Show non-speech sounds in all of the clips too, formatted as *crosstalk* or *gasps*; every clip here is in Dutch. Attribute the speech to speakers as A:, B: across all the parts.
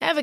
A: Ever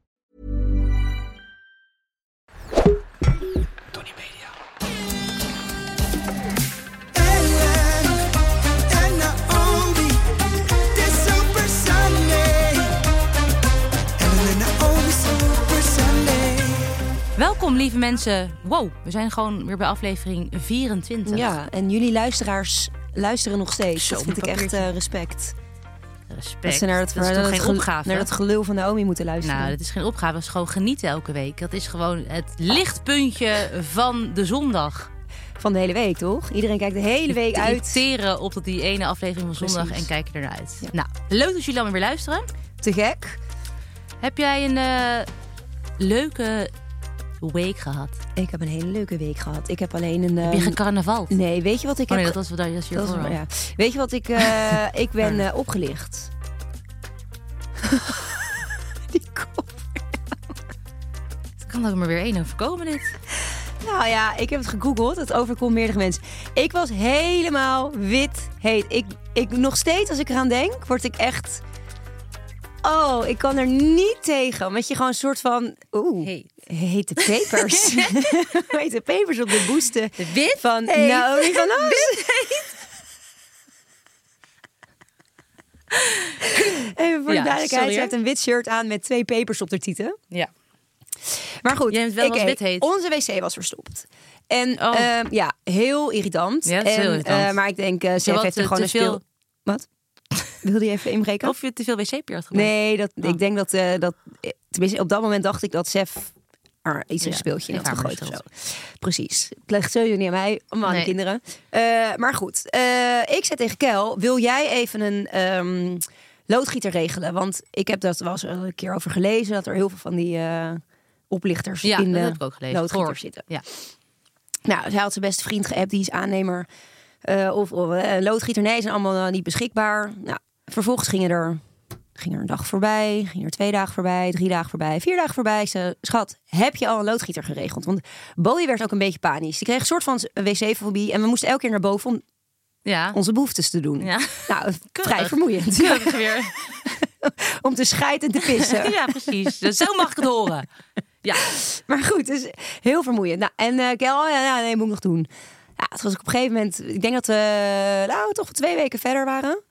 B: and the only this Super Sunday. Ellen en Naomi Super Sunday.
C: Welkom, lieve mensen. Wow, we zijn gewoon weer bij aflevering 24.
D: Ja, en jullie luisteraars luisteren nog steeds.
C: Zo,
D: dat vind ik
C: mijn
D: echt
C: papiertje.
D: eh, respect.
C: Respect.
D: Dat ze naar dat,
C: dat is
D: naar
C: toch
D: dat
C: geen
D: gel-
C: opgave?
D: naar dat gelul van Naomi moeten luisteren.
C: nou, dat is geen opgave. Dat is gewoon genieten elke week. Dat is gewoon het lichtpuntje van de zondag.
D: Van de hele week, toch? Iedereen kijkt de hele week uit.
C: Irriteren op dat die ene aflevering van zondag
D: Precies.
C: en kijken ernaar uit.
D: Ja.
C: Nou, leuk dat jullie allemaal weer luisteren.
D: Te gek.
C: Heb jij een eh, leuke week gehad?
D: Ik heb een hele leuke week gehad. Ik heb alleen een...
C: heb je
D: ehm,
C: gecarnaval?
D: Nee, weet je wat ik
C: Oh nee,
D: heb...
C: dat was wel dat is
D: dat
C: hiervoor
D: is-
C: al.
D: ja. Weet je wat
C: *laughs*
D: ik... eh, ik ben eh, opgelicht. Die kop.
C: Het kan ook maar weer één overkomen dit.
D: Nou ja, ik heb het gegoogeld. Het overkomt meerdere mensen. Ik was helemaal wit heet. Ik, ik, nog steeds, als ik eraan denk, word ik echt... Oh, ik kan er niet tegen. Met je gewoon een soort van... Oeh,
C: Heet.
D: hete
C: *laughs*
D: pepers. *laughs* hete pepers op de boesten.
C: Wit
D: Van Naomi
C: *laughs*
D: van Oost. Even voor
C: Ja,
D: de duidelijkheid,
C: sorry,
D: ze heeft
C: hè?
D: een wit shirt aan met twee pepers op de tieten.
C: Ja.
D: Maar goed,
C: Jij bent wel
D: ik-
C: als wit heet.
D: onze wc was verstopt. En
C: Oh.
D: ehm, ja, heel irritant.
C: Ja, dat is heel
D: En,
C: irritant.
D: eh, maar ik denk, eh Sef
C: wat,
D: heeft er
C: eh,
D: gewoon
C: te
D: een speel...
C: veel-
D: Wat? Wilde je even inbreken?
C: Of je te veel wc-papier had gebruikt.
D: Nee, dat,
C: Oh.
D: ik denk dat, eh, dat... eh, Tenminste, op dat moment dacht ik dat Sef er iets een
C: Ja,
D: speeltje in
C: heeft
D: had
C: haar
D: gegooid of zo.
C: verstopt.
D: Precies. Het ligt sowieso niet aan mij, maar aan
C: Nee.
D: de kinderen. Eh, maar goed, eh, ik zei tegen Kel, wil jij even een ehm, loodgieter regelen? Want ik heb dat wel eens een keer over gelezen, dat er heel veel van die... eh, oplichters
C: Ja,
D: in de
C: dat heb ik ook gelezen.
D: loodgieter
C: Gehoord.
D: zitten.
C: Ja.
D: Nou, zij had zijn beste vriend geappt, die is aannemer. eh, of of, eh, een loodgieter, nee, zijn allemaal eh, niet beschikbaar. Nou, vervolgens gingen er, ging er een dag voorbij, ging er twee dagen voorbij, drie dagen voorbij, vier dagen voorbij. Ze, schat, heb je al een loodgieter geregeld? Want Bowie werd ook een beetje panisch. Die kreeg een soort van wc-fobie en we moesten elke keer naar boven om
C: Ja. *laughs*
D: onze behoeftes te doen.
C: Ja.
D: Nou, vrij
C: Keurig.
D: vermoeiend.
C: Keurig weer.
D: *laughs* om te scheiden en te pissen.
C: Ja, precies. Dus zo mag ik het horen. Ja,
D: *laughs* Maar goed, dus heel vermoeiend. Nou, en eh ik oh ja, ja, nee, moet ik nog doen. Ja, het was ik op een gegeven moment, ik denk dat we nou, toch twee weken verder waren.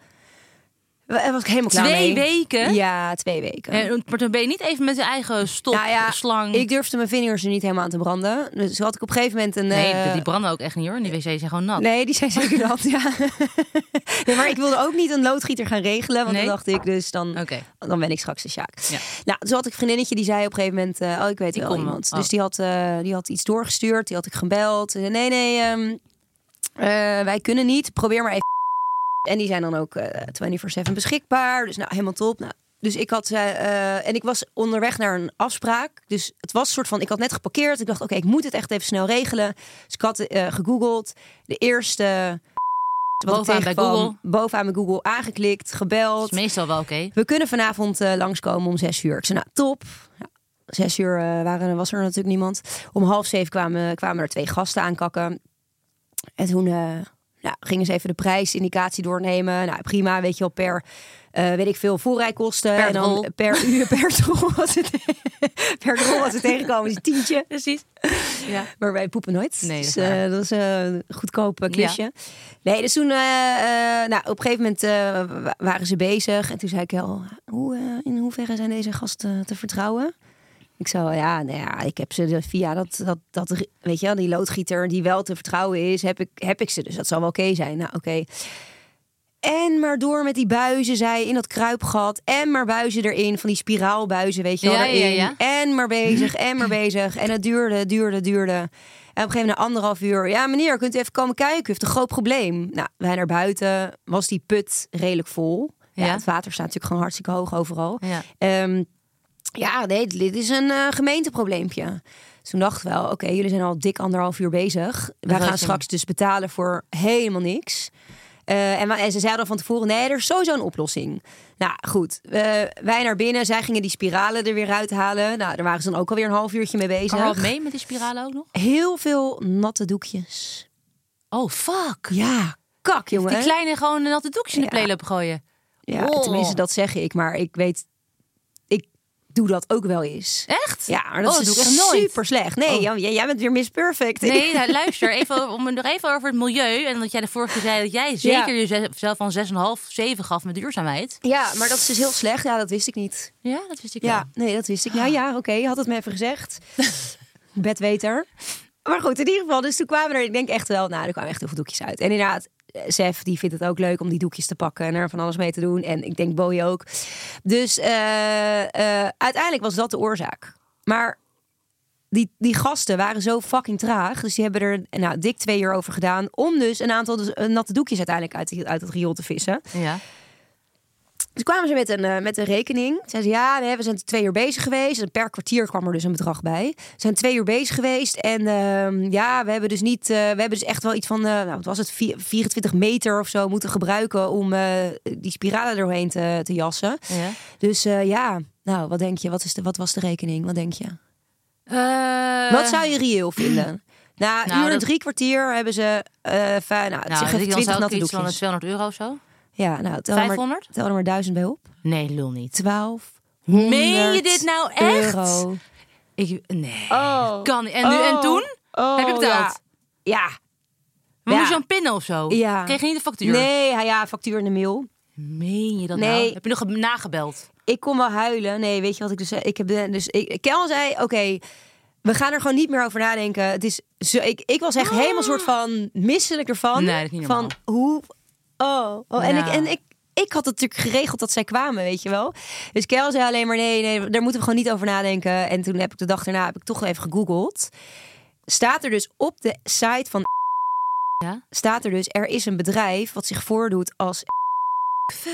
D: Wa- was ik helemaal klaar
C: Twee
D: mee.
C: weken?
D: Ja, twee weken.
C: en, maar dan ben je niet even met je eigen stok,
D: Nou ja,
C: slang.
D: Ik durfde mijn vingers er niet helemaal aan te branden. Dus had ik op een gegeven moment een...
C: nee,
D: eh,
C: die branden ook echt niet hoor. En die wc's zijn gewoon nat.
D: Nee, die zijn
C: *laughs*
D: zeker nat, ja. *laughs* nee, maar ik wilde ook niet een loodgieter gaan regelen. Want
C: Nee?
D: dan dacht ik, dus dan,
C: Oké.
D: dan ben ik straks de Sjaak.
C: Ja.
D: Nou, zo had ik een vriendinnetje die zei op een gegeven moment... eh, oh, ik weet
C: Ik
D: wel
C: kom wel.
D: iemand.
C: Oh.
D: Dus die had, eh, die had iets doorgestuurd. Die had ik gebeld. Ze zei, Nee, nee, ehm, eh, wij kunnen niet. Probeer maar even. En die zijn dan ook eh 24-7 beschikbaar. Dus nou, helemaal top. Nou, dus ik had, eh, eh, en ik was onderweg naar een afspraak. Dus het was een soort van, ik had net geparkeerd. Ik dacht, oké, ik moet het echt even snel regelen. Dus ik had eh, gegoogeld. De eerste wat ik
C: Bovenaan bij
D: tegenkwam,
C: Google.
D: Bovenaan bij Google aangeklikt, gebeld.
C: Dat is meestal wel oké.
D: We kunnen vanavond eh, langskomen om zes uur. Ik zei, nou, top. Ja, zes uur eh, waren, was er natuurlijk niemand. Om half zeven kwamen, kwamen er twee gasten aankakken. En toen, eh, Nou, gingen ze even de prijsindicatie doornemen. Nou, prima, weet je wel, per, eh, weet ik veel, voorrijkosten. en dan
C: rol.
D: per uur, per rol was het, *laughs* per rol was het tegenkomen, is een tientje.
C: Precies. Ja.
D: *laughs* Maar wij poepen nooit.
C: Nee, dat is
D: dus, eh,
C: waar.
D: dat is eh, een goedkoop eh, klusje. Nee, dus toen, eh, eh, nou, op een gegeven moment eh, wa- waren ze bezig. En toen zei ik al, hoe, eh, in hoeverre zijn deze gasten te vertrouwen? Ik zou, ja, nou ja, ik heb ze via dat, dat, dat, weet je wel, die loodgieter die wel te vertrouwen is, heb ik, heb ik ze. Dus dat zal wel oké zijn. Nou, oké. En maar door met die buizen, zei in dat kruipgat. En maar buizen erin, van die spiraalbuizen, weet je wel,
C: Ja, ja,
D: erin.
C: ja.
D: En maar bezig, en maar bezig. En het duurde, duurde, duurde. En op een gegeven moment na anderhalf uur. Ja, meneer, kunt u even komen kijken? U heeft een groot probleem. Nou, wij naar buiten. Was die put redelijk vol. Ja,
C: Ja.
D: Het water staat natuurlijk gewoon hartstikke hoog overal.
C: Ja.
D: Ehm, ja, nee, dit is een eh, gemeenteprobleempje. Dus toen dachten we wel, oké, jullie zijn al dik anderhalf uur bezig. Wij
C: gaat
D: gaan
C: je
D: straks dus betalen voor helemaal niks. Eh, en, wa- en ze zeiden al van tevoren, nee, er is sowieso een oplossing. Nou, goed. eh, wij naar binnen, zij gingen die spiralen er weer uithalen. Nou, daar waren ze dan ook alweer een half uurtje mee bezig.
C: Kan er wat mee met die spiralen ook nog?
D: Heel veel natte doekjes.
C: Oh, fuck.
D: Ja, kak, jongen.
C: Die kleine gewoon een natte doekje in de playloop gooien.
D: Ja,
C: Oh.
D: tenminste, dat zeg ik. Maar ik weet, ik doe dat ook wel eens.
C: Echt?
D: Ja, maar dat
C: Oh,
D: is dus
C: doe ik echt nooit.
D: super slecht. Nee,
C: Oh.
D: Jan, jij, jij bent weer Miss Perfect.
C: Nee, nou, luister, even, om het nog even over het milieu. En dat jij de vorige keer zei dat jij zeker jezelf van 6,5, 7 gaf met duurzaamheid.
D: *laughs* Ja, maar dat is dus heel slecht. Ja, dat wist ik niet.
C: Ja, dat wist ik
D: Ja,
C: wel.
D: nee, dat wist ik. Nou ja, oké, je had het me even gezegd. Bedweter. Maar goed, in ieder geval, dus toen kwamen er, ik denk echt wel, nou, er kwamen echt heel veel doekjes uit. En inderdaad, eh, Sef, die vindt het ook leuk om die doekjes te pakken en er van alles mee te doen. En ik denk Bowie ook. Dus eh, eh, uiteindelijk was dat de oorzaak. Maar die, die gasten waren zo fucking traag. Dus die hebben er nou, dik twee uur over gedaan. Om dus een aantal dus, eh, natte doekjes uiteindelijk uit, die- uit het riool te vissen.
C: Ja.
D: Dus kwamen ze met een, eh, met een rekening. Toen Zeiden ze, ja, nee, we zijn twee uur bezig geweest. En per kwartier kwam er dus een bedrag bij. We zijn twee uur bezig geweest. En ehm, ja, we hebben dus niet... eh, we hebben dus echt wel iets van, eh, nou, wat was het? Vier- 24 meter of zo moeten gebruiken... om eh, die spiralen er doorheen te, te jassen.
C: Ja.
D: Dus eh, ja, nou, wat denk je? Wat, is de, wat was de rekening? Wat denk je?
C: Eh,
D: wat zou je reëel vinden? Na een
C: nou,
D: uur en
C: dat-
D: drie kwartier hebben ze... eh vijf, nou,
C: Nou,
D: zeg even
C: ik dan
D: 20
C: zou ik
D: natte
C: iets van de
D: doekjes.
C: 200 euro of zo.
D: Ja, nou, tel er, maar,
C: 500?
D: tel er maar duizend bij op.
C: Nee, lul niet.
D: 12
C: Meen je dit nou echt?
D: Euro.
C: Ik, nee.
D: Oh.
C: Kan niet. En, nu, en
D: Oh.
C: toen? Heb je betaald?
D: Ja.
C: Maar
D: Ja.
C: Moest je een pinnen of zo?
D: Ja.
C: Kreeg je niet de factuur?
D: Nee, ja, ja, factuur in de mail.
C: Meen je dat
D: Nee.
C: nou? Heb je nog ge- nagebeld?
D: Ik kon wel huilen. Nee, weet je wat ik dus zei? Ik heb eh, dus ik, Kel zei, oké, we gaan er gewoon niet meer over nadenken. Het is zo, ik, ik was echt helemaal soort van misselijk ervan.
C: Nee, dat is niet
D: van
C: normaal.
D: hoe? Oh, oh. en
C: Nou.
D: ik en ik. Ik had het natuurlijk geregeld dat zij kwamen, weet je wel. Dus Kel zei alleen maar nee, nee, daar moeten we gewoon niet over nadenken. En toen heb ik de dag daarna heb ik toch even gegoogeld. Staat er dus op de site van
C: Ja.
D: staat er dus, er is een bedrijf wat zich voordoet als.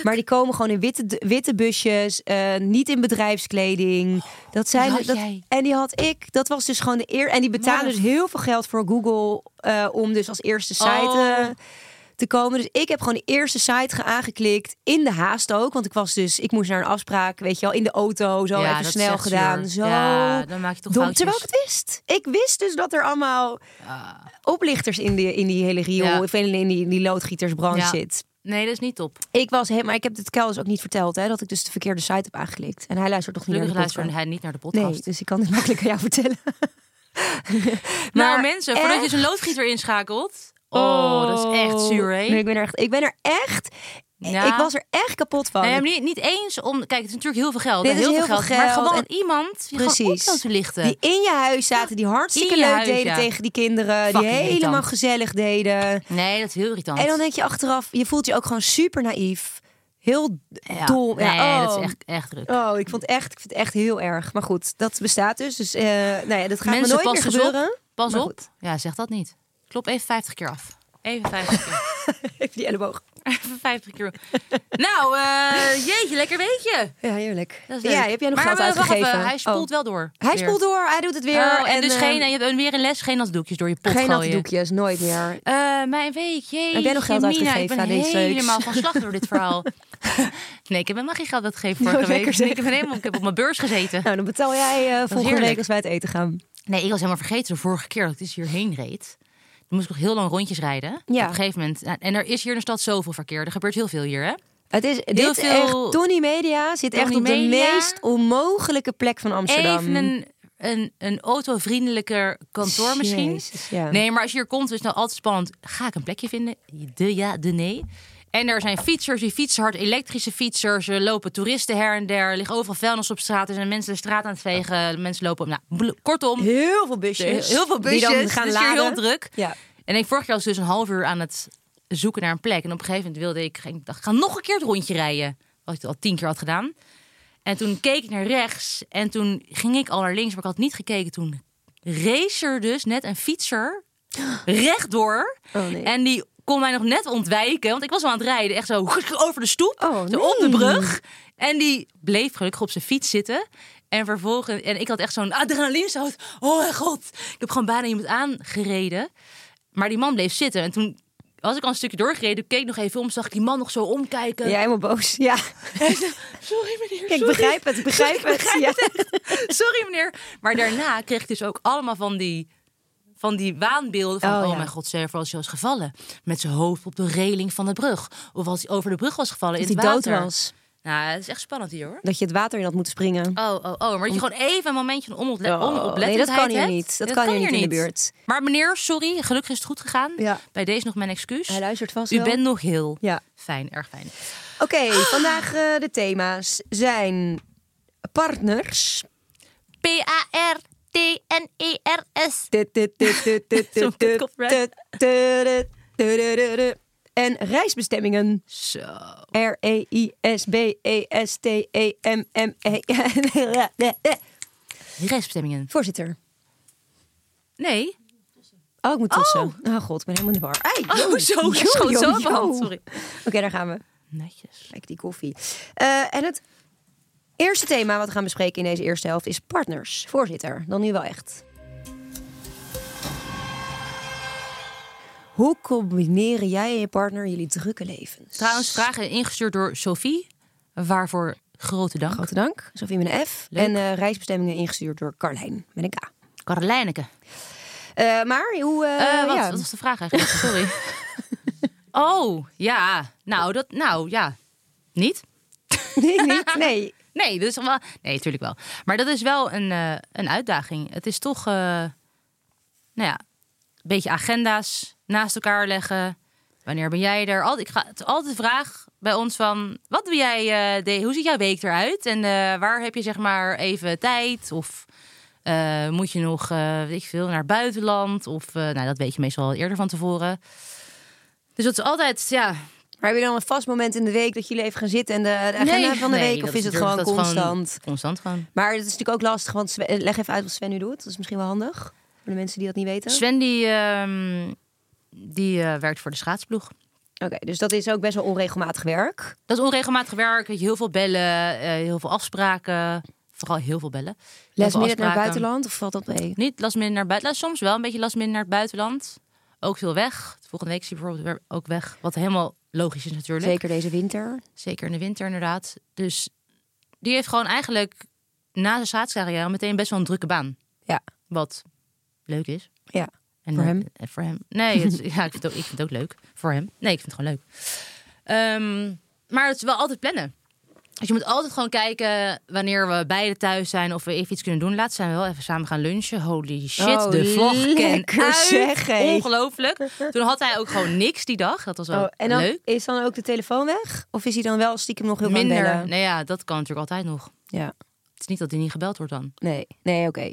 D: Maar die komen gewoon in witte, witte busjes, eh, niet in bedrijfskleding. Dat zijn
C: Oh, die had
D: dat,
C: jij.
D: en die had ik. Dat was dus gewoon de eer. En die betalen dus heel veel geld voor Google eh, om dus als eerste site
C: Oh.
D: eh, te komen. Dus ik heb gewoon de eerste site ge- aangeklikt in de haast ook, want ik was dus, ik moest naar een afspraak, weet je wel, in de auto, zo
C: Ja,
D: even
C: dat is
D: snel
C: echt
D: gedaan,
C: zuur.
D: zo.
C: Ja, dan maak je toch
D: dom,
C: foutjes.
D: terwijl ik het wist. Ik wist dus dat er allemaal oplichters in die, in die hele riool,
C: Ja.
D: of in die, in die, in die loodgietersbranche
C: Ja.
D: zit.
C: Nee, dat is niet top.
D: Ik was helemaal, ik heb het Kel dus ook niet verteld, hè, dat ik dus de verkeerde site heb aangeklikt. En hij luistert toch niet
C: Gelukkig
D: naar de podcast.
C: luisterde hij niet naar de podcast.
D: Nee, dus ik kan het *laughs* makkelijk aan jou vertellen.
C: nou mensen, voordat je zo'n loodgieter inschakelt. Oh, dat is echt zuur, hè?
D: Oh. Nee, ik ben er echt, ik ben er echt,
C: Ja.
D: ik was er echt kapot van.
C: Nee, maar niet, niet eens om... Kijk, het is natuurlijk heel veel geld.
D: Dit
C: hè,
D: is
C: heel,
D: heel
C: veel
D: veel
C: geld. Maar
D: geld
C: gewoon
D: en-
C: iemand die gewoon op
D: Precies.
C: wil lichten.
D: Die in je huis zaten, die hartstikke
C: in je
D: leuk
C: huis,
D: deden
C: ja.
D: tegen die kinderen. die
C: Fucking
D: helemaal
C: irritant.
D: gezellig deden.
C: Nee, dat is heel irritant.
D: En dan denk je achteraf, je voelt je ook gewoon super naïef. Heel
C: ja.
D: dom.
C: Nee,
D: Ja,
C: dat
D: oh.
C: is echt, echt druk.
D: Oh, ik vond, echt, ik vind het echt heel erg. Maar goed, dat bestaat dus. Dus eh, nou ja, dat gaat
C: Mensen,
D: me nooit
C: pas
D: meer
C: eens
D: gebeuren.
C: op. Pas
D: Maar
C: op.
D: goed. *laughs*
C: Ja, zeg dat niet. Klop even 50 keer af. Even 50 keer.
D: Even die elleboog.
C: *laughs* even 50 keer. Nou, eh, jeetje, lekker weetje.
D: Ja, heerlijk.
C: Dat is leuk.
D: ja, heb jij nog
C: maar,
D: geld
C: wacht even,
D: uitgegeven?
C: hij spoelt
D: Oh.
C: wel door.
D: Hij
C: Weer.
D: spoelt door, hij doet het weer.
C: Oh, en, dus
D: eh,
C: geen, en je hebt weer een les, geen natte doekjes door je pot
D: geen natte
C: gooien.
D: doekjes,
C: *laughs*
D: nooit meer.
C: Eh, mijn week, jeetje,
D: Heb jij nog geld
C: Mina,
D: uitgegeven
C: ik ben
D: aan deze seuks?
C: helemaal van slag door dit
D: *laughs*
C: verhaal. nee, ik heb helemaal geen geld uitgegeven vorige
D: Nou,
C: week. Dus
D: lekker zeg.
C: Ik, heb helemaal, ik heb op mijn beurs
D: *laughs*
C: gezeten.
D: Nou, dan betaal jij eh volgende
C: heerlijk.
D: week als wij het eten gaan.
C: Nee, ik was helemaal vergeten de vorige keer dat ik dus hierheen reed. Dan moest ik nog heel lang rondjes rijden.
D: Ja.
C: Op een gegeven moment. nou, En er is hier in de stad zoveel verkeer. Er gebeurt heel veel hier, hè?
D: Het is, dit
C: Heel
D: is
C: veel-
D: echt, Tony Media zit echt
C: Tony
D: op de
C: Media.
D: meest onmogelijke plek van Amsterdam.
C: Even een, een, een autovriendelijker kantoor misschien.
D: Jezus, ja.
C: Nee, maar als je hier komt, is het nou altijd spannend. Ga ik een plekje vinden? De ja, de nee. En er zijn fietsers, die fietsen hard, elektrische fietsers. Er lopen toeristen her en der. Er ligt overal vuilnis op straat. Er zijn mensen de straat aan het vegen. Mensen lopen... Nou, bl- kortom,
D: Heel veel busjes. dus
C: heel veel busjes.
D: Die dan gaan
C: het is hier
D: laden.
C: heel druk.
D: Ja.
C: En ik vorig jaar was ik dus een half uur aan het zoeken naar een plek. En op een gegeven moment wilde ik, ik dacht, ik ga nog een keer het rondje rijden. Wat ik al tien keer had gedaan. En toen keek ik naar rechts. En toen ging ik al naar links, maar ik had niet gekeken. Toen race er dus net een fietser *gasps* rechtdoor.
D: Oh, nee.
C: En die kon mij nog net ontwijken. Want ik was al aan het rijden. Echt zo *laughs* over de stoep.
D: Oh,
C: zo
D: nee.
C: op de brug. En die bleef gelukkig op zijn fiets zitten. En vervolgens... En ik had echt zo'n adrenalinestoot. Oh mijn god. Ik heb gewoon bijna iemand aangereden. Maar die man bleef zitten. En toen was ik al een stukje doorgereden. Keek nog even om. Zag ik die man nog zo omkijken.
D: Jij helemaal boos. *laughs* Ja.
C: *laughs* Sorry meneer.
D: Kijk, ik
C: sorry.
D: begrijp het. Ik begrijp het. ja.
C: *laughs* Sorry meneer. Maar daarna kreeg ik dus ook allemaal van die, van die waanbeelden. Van,
D: Oh,
C: oh,
D: ja.
C: mijn god, Server als hij was gevallen. Met zijn hoofd op de reling van de brug. Of als hij over de brug was gevallen
D: Dat
C: in
D: hij
C: het
D: dood
C: water.
D: was.
C: Nou, het is echt spannend hier hoor.
D: Dat je het water in had moeten springen.
C: Oh, oh, oh. Maar dat je gewoon even een momentje een onople-
D: Oh,
C: onoplettendheid
D: nee, dat kan hier
C: hebt.
D: niet. Dat kan hier niet in de buurt.
C: Maar meneer, sorry. Gelukkig is het goed gegaan.
D: Ja.
C: Bij deze nog mijn excuus.
D: Hij luistert vast
C: U
D: wel.
C: bent nog heel
D: Ja.
C: fijn, erg fijn.
D: Oké, vandaag eh, de thema's zijn partners.
C: E P-A-R-T-N-E-R-S.
D: Tut, tut, tut, tut, tut,
C: Zo'n
D: tut, tut,
C: kopwerk.
D: tut, tut, tut, tut, tut, tut. En reisbestemmingen. E
C: Zo.
D: R-E-I-S-B-E-S-T-E-M-M-E.
C: Restbestemmingen.
D: Voorzitter.
C: Nee.
D: Oh, ik moet tossen.
C: Oh.
D: Oh, god, ik ben helemaal in de war. Ai,
C: Oh,
D: yo,
C: zo.
D: yo,
C: Ik schoot
D: yo,
C: zo op mijn
D: yo.
C: hand, sorry.
D: Oké, daar gaan we.
C: Netjes.
D: Kijk, die koffie. Eh, en het eerste thema wat we gaan bespreken in deze eerste helft is partners. Voorzitter, dan nu wel echt. Hoe combineren jij en je partner jullie drukke levens?
C: Trouwens, vragen ingestuurd door Sophie. Waarvoor grote dank.
D: Grote dank, Sophie met een F.
C: Leuk.
D: En eh, reisbestemmingen ingestuurd door Carlijn met een K.
C: Karolijneke.
D: Eh, maar hoe... eh,
C: Eh, wat,
D: ja.
C: wat was de vraag eigenlijk? Sorry. oh, ja. Nou, dat, nou, ja. Niet?
D: *laughs* Nee, niet, nee.
C: Nee, dat is wel... Nee, natuurlijk wel. Maar dat is wel een, eh, een uitdaging. Het is toch, eh, nou ja, een beetje agenda's naast elkaar leggen. Wanneer ben jij er? Altijd, ik ga, het is altijd de vraag bij ons van, wat doe jij, eh, de, hoe ziet jouw week eruit? En eh, waar heb je zeg maar even tijd? Of eh, moet je nog, eh, weet ik veel, naar het buitenland? Of, eh, nou, dat weet je meestal al eerder van tevoren. Dus dat is altijd, ja...
D: Maar hebben jullie dan een vast moment in de week dat jullie even gaan zitten en de, de agenda van de
C: nee,
D: week?
C: dat
D: Of is het
C: natuurlijk-
D: gewoon
C: dat is
D: constant?
C: constant gewoon.
D: Maar het is natuurlijk ook lastig, want Sven- eh, leg even uit wat Sven nu doet. Dat is misschien wel handig voor de mensen die dat niet weten.
C: Sven die, ehm, die eh, werkt voor de schaatsploeg.
D: Oké, dus dat is ook best wel onregelmatig werk.
C: Dat is onregelmatig werk, weet je, heel veel bellen, eh, heel veel afspraken. Vooral heel veel bellen. Heel
D: Les
C: veel
D: midden naar het
C: afspraken.
D: buitenland, of valt dat mee?
C: Niet last minder naar het buitenland. Soms wel een beetje last minder naar het buitenland. Ook veel weg. Volgende week is hij bijvoorbeeld weer ook weg. Wat helemaal logisch is natuurlijk.
D: Zeker deze winter.
C: Zeker in de winter inderdaad. Dus die heeft gewoon eigenlijk na zijn schaatscarrière al meteen best wel een drukke baan.
D: Ja,
C: Wat leuk is.
D: ja.
C: En
D: Voor
C: eh,
D: hem?
C: eh, Voor hem. Nee, het, *laughs* ja, ik vind, het ook, ik vind het ook leuk. Voor hem. Nee, ik vind het gewoon leuk. Ehm, maar het is wel altijd plannen. Dus je moet altijd gewoon kijken wanneer we beide thuis zijn of we even iets kunnen doen. Laatst zijn we wel even samen gaan lunchen. Holy shit,
D: Oh,
C: de vlog
D: lekker
C: ken uit.
D: zeg, hé.
C: Ongelooflijk. Toen had hij ook gewoon niks die dag. Dat was wel
D: Oh, en dan
C: leuk.
D: is dan ook de telefoon weg? Of is hij dan wel stiekem nog heel veel aan het
C: Minder.
D: bellen?
C: Nou ja, dat kan natuurlijk altijd nog.
D: Ja,
C: Het is niet dat hij niet gebeld wordt dan.
D: nee, nee, oké.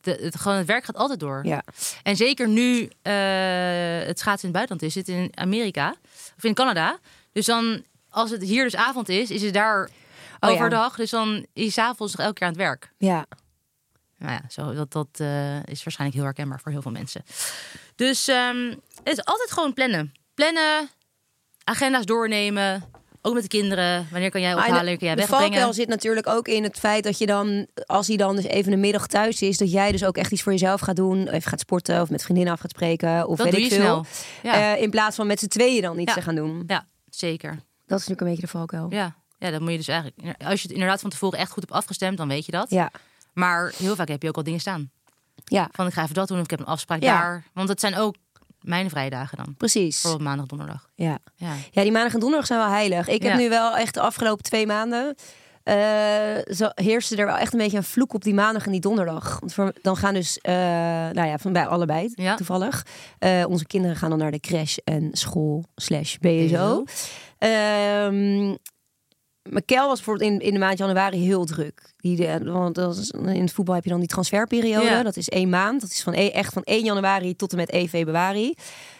C: De, het, gewoon, het werk gaat altijd door.
D: Ja.
C: En zeker nu eh, het schaatsen in het buitenland is, zit in Amerika of in Canada. Dus dan, als het hier dus avond is, is het daar
D: Oh ja.
C: overdag. Dus dan is 's avonds nog elke keer aan het werk.
D: Ja,
C: Nou ja, zo, dat, dat eh, is waarschijnlijk heel herkenbaar voor heel veel mensen. Dus ehm, het is altijd gewoon plannen. Plannen, agenda's doornemen. Ook met de kinderen. Wanneer kan jij
D: Maar
C: ophalen? Wanneer kan jij
D: de
C: wegbrengen?
D: valkuil zit natuurlijk ook in het feit dat je dan, als hij dan dus even een middag thuis is, dat jij dus ook echt iets voor jezelf gaat doen. Even gaat sporten of met vriendinnen af gaat spreken of
C: Dat
D: weet
C: doe
D: ik
C: je
D: veel.
C: snel. Ja.
D: Eh, in plaats van met z'n tweeën dan iets
C: Ja.
D: te gaan doen.
C: Ja, zeker.
D: Dat is natuurlijk een beetje de valkuil.
C: Ja. ja, dan moet je dus eigenlijk... Als je het inderdaad van tevoren echt goed hebt afgestemd, dan weet je dat.
D: Ja.
C: Maar heel vaak heb je ook al dingen staan.
D: Ja.
C: Van ik ga even dat doen of ik heb een afspraak
D: Ja.
C: daar. Want het zijn ook mijn vrijdagen dan.
D: Precies.
C: Bijvoorbeeld maandag, donderdag.
D: Ja.
C: Ja.
D: ja, die maandag en donderdag zijn wel heilig. Ik
C: Ja.
D: heb nu wel echt de afgelopen twee maanden... eh, zo heerste er wel echt een beetje een vloek op die maandag en die donderdag. Want voor- dan gaan dus, eh, nou ja, van bij allebei
C: Ja.
D: toevallig. Eh, onze kinderen gaan dan naar de crash en school slash BSO. Ehm Mikel was bijvoorbeeld in, in de maand januari heel druk. Die, de- want dat is- in het voetbal heb je dan die transferperiode.
C: Ja.
D: Dat is één maand. Dat is van, e- echt van 1 januari tot en met 1 februari.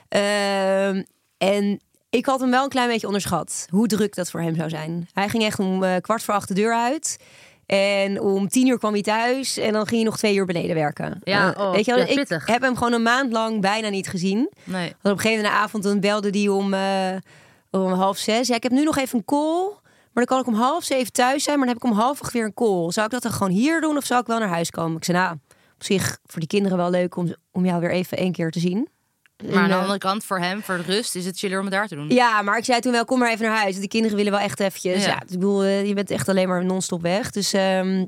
D: Ehm, en ik had hem wel een klein beetje onderschat. Hoe druk dat voor hem zou zijn. Hij ging echt om eh, kwart voor acht de deur uit. En om tien uur kwam hij thuis. En dan ging hij nog twee uur beneden werken.
C: Ja,
D: Eh,
C: oh,
D: weet je wel,
C: ja,
D: ik
C: pittig.
D: heb hem gewoon een maand lang bijna niet gezien.
C: Nee.
D: Want op een gegeven moment in de avond dan belde die om, eh, om half zes. Ja, ik heb nu nog even een call. Maar dan kan ik om half zeven thuis zijn. Maar dan heb ik om half acht weer een call. Zou ik dat dan gewoon hier doen of zou ik wel naar huis komen? Ik zei, nou, op zich voor die kinderen wel leuk om, om jou weer even één keer te zien.
C: Maar aan de
D: eh,
C: andere kant, voor hem, voor de rust, is het chiller om het daar te doen.
D: Ja, maar ik zei toen wel, kom maar even naar huis. Want die kinderen willen wel echt eventjes.
C: Ja.
D: Ja. ik bedoel, eh, je bent echt alleen maar non-stop weg. Dus... ehm,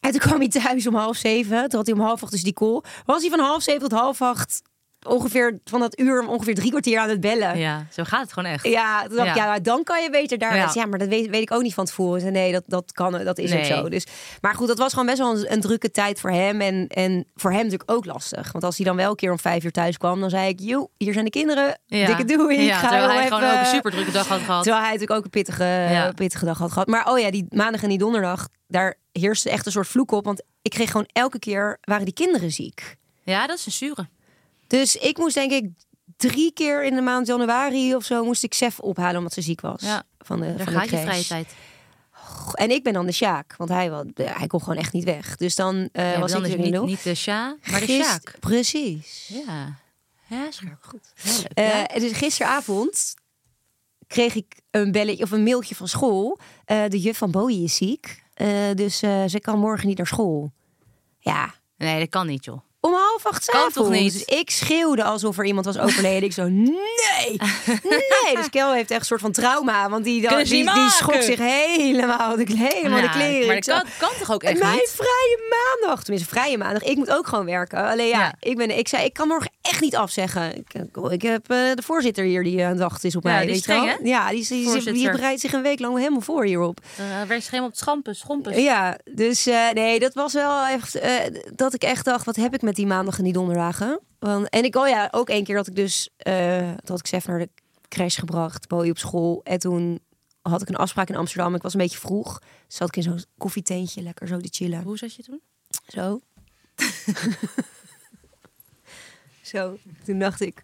D: en toen kwam hij thuis om half zeven. Toen had hij om half acht dus die call. Was hij van half zeven tot half acht ongeveer van dat uur ongeveer drie kwartier aan het bellen.
C: Ja, zo gaat het gewoon echt.
D: Ja, toen dacht ik,
C: Ja.
D: ja. maar dan kan je beter daar.
C: Ja.
D: Ja, maar dat weet, weet ik ook niet van tevoren. Ik zei, Nee, dat, dat kan, dat is
C: Nee.
D: ook zo. Dus, maar goed, dat was gewoon best wel een, een drukke tijd voor hem. En, en voor hem natuurlijk ook lastig. Want als hij dan wel een keer om vijf uur thuis kwam, dan zei ik, joh, hier zijn de kinderen.
C: Ja.
D: Dikke doei.
C: Ja,
D: ik ga
C: terwijl
D: heel
C: hij
D: even-
C: gewoon ook een super drukke dag had gehad.
D: Terwijl hij natuurlijk ook een pittige,
C: Ja.
D: pittige dag had gehad. Maar oh ja, die maandag en die donderdag, daar heerste echt een soort vloek op. Want ik kreeg gewoon elke keer, waren die kinderen ziek.
C: Ja, dat is een zure.
D: Dus ik moest denk ik drie keer in de maand januari of zo moest ik Sef ophalen omdat ze ziek was.
C: Ja.
D: Van de,
C: Daar
D: van de
C: gaat je
D: crash.
C: vrije tijd.
D: En ik ben dan de Sjaak, want hij, wa- hij kon gewoon echt niet weg. Dus dan eh,
C: Ja,
D: was
C: dan
D: ik
C: is
D: er
C: het
D: niet
C: niet,
D: op.
C: niet de Sja, maar de
D: Gist-
C: Sjaak.
D: Precies.
C: Ja. Ja, scherp. Goed.
D: Eh, en dus gisteravond kreeg ik een belletje of een mailtje van school. Eh, de juf van Bowie is ziek, Eh, dus eh, ze kan morgen niet naar school. Ja,
C: Nee, dat kan niet, joh.
D: Om half acht 's
C: Kan
D: avonds.
C: toch niet?
D: Dus ik schreeuwde alsof er iemand was overleden. ik zo, nee, nee. Dus Kel heeft echt een soort van trauma. Want die,
C: Kunnen
D: die,
C: ze niet
D: die,
C: maken?
D: schrok zich helemaal de, helemaal de
C: Nou,
D: kleren.
C: Maar
D: Ik
C: dat
D: zo,
C: kan, kan toch ook echt
D: mijn
C: niet?
D: vrije maandag. Tenminste, vrije maandag. Ik moet ook gewoon werken. Alleen ja,
C: Ja.
D: Ik, ben, ik zei, ik kan morgen echt niet afzeggen. Ik, ik heb eh, de voorzitter hier die eh, aan het wachten is op
C: Ja,
D: mij.
C: die is
D: weet je wel.
C: streng, hè?
D: Ja, die, is- die, is- die
C: Voorzitter.
D: bereidt zich een week lang helemaal voor hierop.
C: Er werd Eh, geen op het schampen, schompen.
D: Ja, dus eh, nee, dat was wel echt eh, dat ik echt dacht, wat heb ik met die maandag en die donderdagen? Want, en ik, oh ja, ook één keer dat ik dus, eh toen had ik Sef naar de crash gebracht, Bowie op school. En toen had ik een afspraak in Amsterdam, ik was een beetje vroeg. Dus zat ik in zo'n koffietentje, lekker zo te chillen.
C: Hoe zat je toen?
D: Zo. *laughs* zo, toen dacht ik,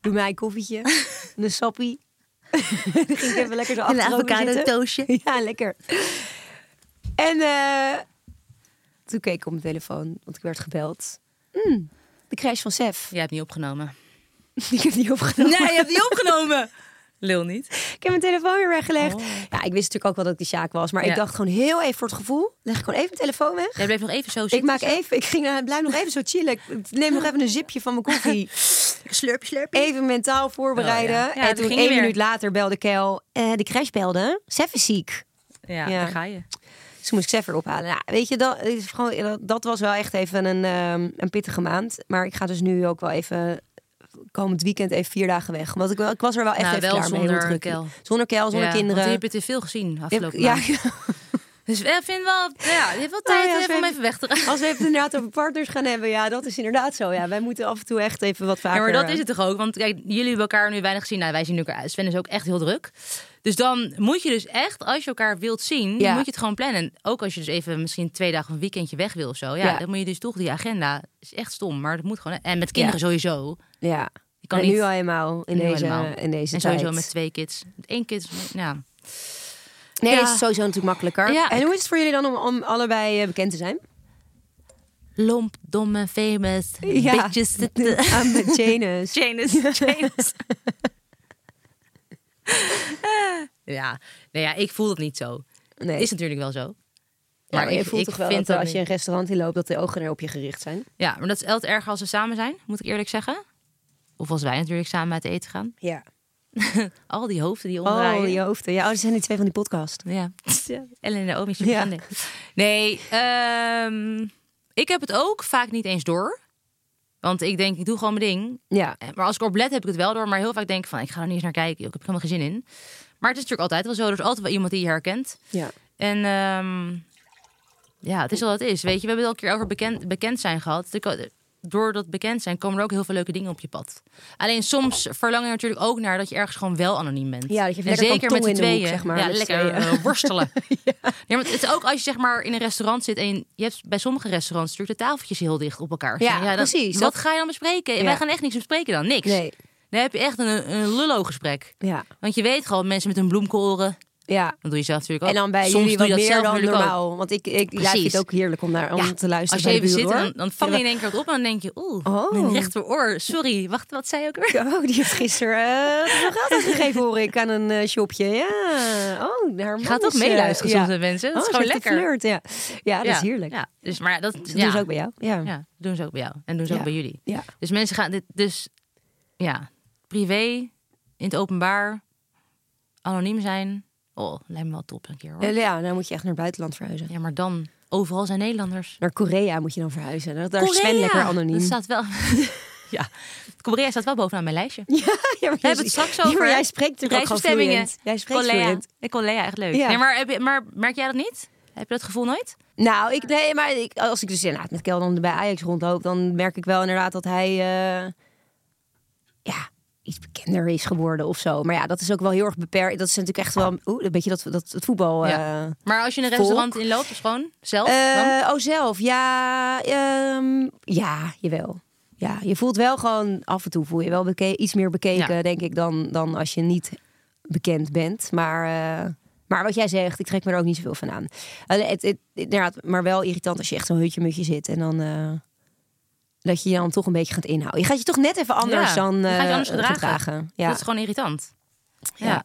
D: doe mij een koffietje, en een sappie. *laughs* Toen ging ik even lekker zo achterover zitten.
C: toosje.
D: *laughs* Ja, lekker. En eh, toen keek ik op mijn telefoon, want ik werd gebeld. Hmm,
C: Mm.
D: de crash van Sef. *laughs*
C: Jij hebt niet opgenomen.
D: ik heb die opgenomen.
C: je hebt niet opgenomen. Lul niet.
D: *laughs* Ik heb mijn telefoon weer weggelegd. Ja, ik wist natuurlijk ook wel dat ik die Sjaak was. Maar
C: Oh. Ja.
D: ik dacht gewoon heel even voor het gevoel. Leg ik gewoon even mijn telefoon weg.
C: Jij bleef nog even zo zitten.
D: Ik maak even, ik ging, eh, blijf nog even zo chillen. Ik neem nog even een zipje van mijn
C: *laughs*
D: koffie.
C: slurp, slurp.
D: Even mentaal voorbereiden.
C: Oh, ja. Ja,
D: en
C: dat
D: toen
C: ging niet
D: één
C: meer.
D: minuut later belde Kel. eh, de crash belde. Sef is ziek.
C: Ja,
D: Ja.
C: daar ga je.
D: Dus toen moest ik Seffer ophalen. Nou, weet je, dat, is gewoon, dat, dat was wel echt even een, ehm, een pittige maand. Maar ik ga dus nu ook wel even komend weekend even vier dagen weg. Want ik, wel- ik was er wel echt
C: Nou,
D: even
C: wel
D: klaar mee,
C: zonder
D: heel druk.
C: Kel.
D: Zonder kel, zonder
C: ja,
D: kinderen.
C: Want die heb je te veel gezien afgelopen
D: ja, Nou
C: maand. Dus ik vind wel, ja, je hebt
D: *laughs*
C: wel tijd
D: ja,
C: even om
D: zeker.
C: even weg te gaan.
D: als we het inderdaad over partners gaan hebben, ja, dat is inderdaad zo. Ja, wij moeten af en toe echt even wat vaker.
C: *laughs* Ja, maar dat
D: eh,
C: is het toch ook? Want kijk, jullie hebben elkaar nu weinig gezien. Nou, wij zien elkaar. Sven is ook echt heel druk. Dus dan moet je dus echt, als je elkaar wilt zien,
D: Ja.
C: moet je het gewoon plannen. En ook als je dus even misschien twee dagen of een weekendje weg wil of zo. Ja,
D: Ja.
C: dan moet je dus toch die agenda. is echt stom, maar dat moet gewoon. En met kinderen
D: Ja.
C: sowieso.
D: Ja,
C: Je kan
D: En
C: niet-
D: nu al helemaal in
C: Nu
D: deze,
C: helemaal.
D: In deze
C: En
D: tijd.
C: sowieso met twee kids. Met één kind, ja.
D: Nee,
C: Ja.
D: is het sowieso natuurlijk makkelijker.
C: Ja.
D: En hoe is het voor jullie dan om, om allebei eh, bekend te zijn?
C: Lomp, domme, famous,
D: *laughs* Ja.
C: bitches.
D: Aan
C: *laughs*
D: met Janus.
C: Janus,
D: *laughs*
C: Janus. ja, nou ja, ik voel dat niet zo.
D: Nee.
C: Is natuurlijk wel zo.
D: Ja, maar je voelt toch wel dat, als
C: niet.
D: je een restaurant in loopt, dat de ogen er op je gericht zijn.
C: Ja, maar dat is altijd erger als we samen zijn, moet ik eerlijk zeggen. Of als wij natuurlijk samen uit eten gaan.
D: Ja.
C: Al die hoofden die omdraaien.
D: Oh, je hoofden. Ja, oh, dat zijn die twee van die podcast.
C: *laughs* Ja. Ellen en Naomi.
D: Ja.
C: Ja. Nee, ehm, ik heb het ook vaak niet eens door. Want ik denk, ik doe gewoon mijn ding.
D: Ja.
C: Eh, Maar als ik erop let, heb ik het wel door. Maar heel vaak denk ik van, ik ga er niet eens naar kijken. joh, Ik heb er helemaal geen zin in. Maar het is natuurlijk altijd wel zo. Er is altijd wel iemand die je herkent.
D: ja.
C: En ehm, ja, het is wel wat het is. Weet je, we hebben het al een keer over bekend, bekend zijn gehad. Er ko- Door dat bekend zijn komen er ook heel veel leuke dingen op je pad. Alleen soms verlang je natuurlijk ook naar dat je ergens gewoon wel anoniem bent.
D: Ja, dat je even
C: en
D: lekker kan
C: zeker met
D: tongen
C: z'n
D: in de hoek,
C: tweeën.
D: zeg maar,
C: ja,
D: met z'n
C: lekker
D: tweeën.
C: eh,
D: *laughs*
C: worstelen. ja. maar het is ook als je zeg maar in een restaurant zit en je hebt bij sommige restaurants natuurlijk de tafeltjes heel dicht op elkaar.
D: Ja,
C: staan. dan-
D: precies.
C: Wat
D: Dat-
C: ga je dan bespreken?
D: Ja.
C: Wij gaan echt niks bespreken dan, niks.
D: Nee.
C: Dan heb je echt een, een lullo gesprek.
D: Ja.
C: Want je weet gewoon mensen met hun bloemkoren,
D: Ja.
C: dat doe je zelf natuurlijk ook.
D: En dan bij
C: Soms
D: jullie
C: doe
D: wat
C: je dat
D: meer
C: zelf
D: dan
C: natuurlijk ook.
D: normaal. Want ik, ik ja, ik vind
C: Precies.
D: het ook heerlijk om, naar, om te luisteren
C: Als je
D: bij
C: even
D: de
C: zit,
D: buren,
C: dan, dan vang je in één keer wat op en dan denk je, oeh,
D: Oh.
C: mijn rechteroor, sorry, wacht, wat zei je ook weer?
D: hoor. Oh, die heeft gisteren eh, nog geld gegeven, hoor ik, aan een eh, shopje. Ja. Oh, haar man
C: Gaat toch
D: is, eh,
C: meeluisteren soms
D: ja.
C: met mensen? Dat
D: Oh,
C: is
D: ze
C: gewoon
D: heeft
C: lekker.
D: geflirt, ja. ja, dat is heerlijk.
C: Ja, dus, maar ja, dat,
D: Dat
C: ja.
D: doen ze ook bij jou. Ja.
C: Ja, doen ze ook bij jou. En doen ze
D: Ja.
C: ook bij jullie.
D: Ja.
C: Dus mensen gaan dit, dus ja, privé, in het openbaar, anoniem zijn. Oh, lijkt me wel top een keer hoor.
D: Eh, ja, dan moet je echt naar het buitenland verhuizen.
C: Ja, maar dan, overal zijn Nederlanders.
D: Naar Korea moet je dan verhuizen. Daar daar is
C: Korea!
D: Sven lekker anoniem.
C: Dat staat wel, *laughs* ja, Korea staat wel bovenaan mijn lijstje.
D: Ja, *laughs* ja, maar
C: We
D: jij-
C: hebben het
D: *laughs*
C: straks
D: Ja, maar
C: over.
D: jij spreekt natuurlijk ook gewoon
C: reisbestemmingen.
D: vloeiend. Jij spreekt
C: Colea.
D: vloeiend.
C: Ik collega, echt leuk.
D: Ja.
C: Nee, maar, heb je, maar merk jij dat niet? Heb je dat gevoel nooit?
D: Nou, ik, nee, maar ik, als ik dus inderdaad met Kel dan bij Ajax rondloop... dan merk ik wel inderdaad dat hij eh, ja, iets bekender is geworden of zo. Maar ja, dat is ook wel heel erg beperkt. Dat is natuurlijk echt wel oeh, een beetje dat, dat, het voetbal...
C: Ja.
D: eh,
C: Maar als je in een
D: Volk.
C: restaurant inloopt, dus gewoon zelf, dan?
D: Eh, oh, zelf. Ja, ehm, ja, jawel. Ja, je voelt wel gewoon af en toe voel je wel beke- iets meer bekeken,
C: Ja.
D: denk ik, dan, dan als je niet bekend bent. Maar, eh, maar wat jij zegt, ik trek me er ook niet zoveel van aan. Alleen, het, het, inderdaad, maar wel irritant als je echt zo'n hutje-mutje zit en dan. eh, dat je je dan toch een beetje gaat inhouden. Je gaat je toch net even anders
C: Ja,
D: dan
C: je gaat je
D: eh,
C: anders gedragen.
D: Ja.
C: Dat is gewoon irritant. Ja.
D: Ja.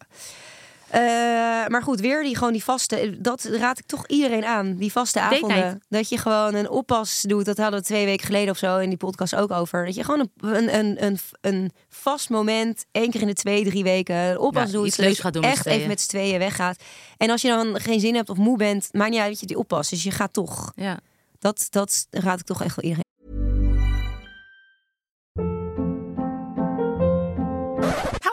D: Eh, maar goed, weer die, gewoon die vaste. eh, Dat raad ik toch iedereen aan. Die vaste
C: Date
D: avonden.
C: night.
D: Dat je gewoon een oppas doet. Dat hadden we twee weken geleden of zo in die podcast ook over. Dat je gewoon een, een, een, een, een vast moment, één keer in de twee, drie weken, een oppas
C: Ja,
D: doet.
C: iets
D: zodat
C: leuks
D: je
C: gaat doen met
D: Echt
C: z'n tweeën.
D: even met z'n tweeën weggaat. En als je dan geen zin hebt of moe bent, maakt niet uit dat je die oppas. Dus je gaat toch.
C: Ja.
D: Dat, dat raad ik toch echt wel iedereen.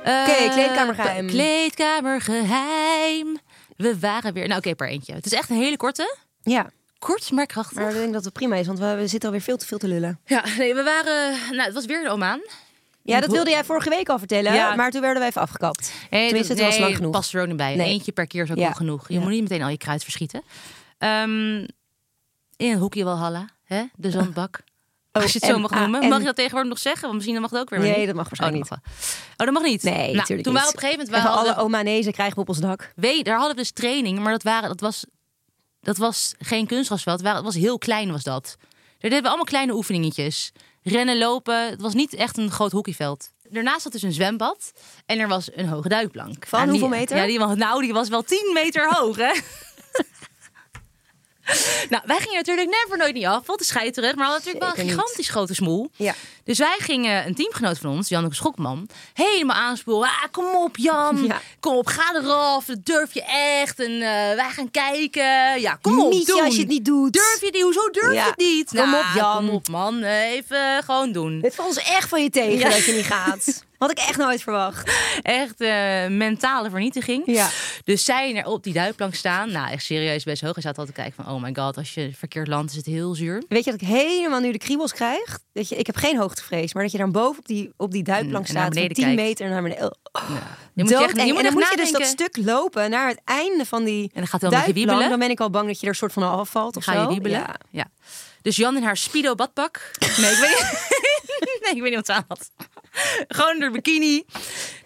C: Oké,
D: kleedkamergeheim.
C: Kleedkamergeheim. We waren weer... Nou, oké, per eentje. Het is echt een hele korte.
D: Ja,
C: Kort, maar krachtig.
D: maar ik denk dat het prima is, want we, we zitten alweer veel te veel te lullen.
C: Ja, nee, we waren... Nou, het was weer de Omaan.
D: Ja, dat wilde jij vorige week al vertellen,
C: Ja.
D: maar toen werden we even afgekapt.
C: Nee,
D: Tenminste, het
C: dat-
D: was
C: nee,
D: lang genoeg.
C: past er ook niet bij.
D: Nee.
C: Eentje per keer is ook
D: Ja.
C: wel genoeg. Je
D: Ja.
C: moet niet meteen al je kruid verschieten. Ehm, in een hoekje Walhalla, hè? de zandbak.
D: Oh,
C: Als je het zo mag noemen. Mag je dat tegenwoordig nog zeggen? Want misschien mag dat ook weer
D: ah, Nee,
C: niet.
D: dat mag waarschijnlijk
C: oh, dat mag wel. Oh, dat mag niet?
D: Nee,
C: Nou,
D: natuurlijk
C: Toen waren
D: niet.
C: we op een gegeven moment... we
D: Even
C: hadden-
D: alle omanezen krijgen we op ons dak.
C: weet, daar hadden we dus training, maar dat, waren, dat, was, dat was geen kunstgrasveld. Het waren- Het was heel klein, was dat. Daar deden we allemaal kleine oefeningetjes. Rennen, lopen. Het was niet echt een groot hockeyveld. Daarnaast zat dus een zwembad en er was een hoge duikplank.
D: Van
C: die-
D: hoeveel meter?
C: Ja, die, was- nou, die was wel 10 meter hoog, hè? *laughs* nou, wij gingen natuurlijk never nooit niet af, want de scheiterig. Maar we hadden natuurlijk wel
D: Zeker
C: een
D: niet.
C: gigantisch grote smoel.
D: Ja.
C: Dus wij gingen een teamgenoot van ons, Janneke Schokman, helemaal aanspoelen. Ah, kom op, Jan.
D: *laughs* Ja.
C: Kom op, ga eraf. Dat durf je echt. En eh, wij gaan kijken. Ja, kom op,
D: Mietje,
C: doen.
D: als je het niet doet.
C: Durf je die? Hoezo durf
D: Ja.
C: je het niet?
D: Kom
C: Nou,
D: op, Jan.
C: Kom op, man. Even gewoon doen.
D: Het valt ons echt van je tegen dat je niet gaat. *laughs* Had ik echt nooit verwacht.
C: Echt eh, mentale vernietiging.
D: Ja.
C: Dus zij er op die duikplank staan. Nou, echt serieus best hoog. En zaten altijd te kijken van, oh my god, als je verkeerd landt is het heel zuur.
D: Weet je dat ik helemaal nu de kriebels krijg? Dat je, ik heb geen hoogtevrees, maar dat je dan boven op die, op die duikplank
C: Mm, En naar
D: staat... van
C: beneden
D: 10
C: kijkt.
D: meter naar beneden. Oh,
C: Nou, Je moet je echt- je moet
D: doodeng. en dan
C: echt
D: moet je dus dat
C: nadenken.
D: stuk lopen naar het einde van die
C: dan gaat het wel een beetje
D: duikplank. Dan
C: wiebelen.
D: ben ik al bang dat je er soort van afvalt of
C: Ga
D: zo.
C: je wiebelen?
D: Ja.
C: Ja. Dus Jan in haar speedo badpak. *laughs* Nee, ik weet niet, *laughs* nee, ik weet niet wat ze aan had. Gewoon door bikini.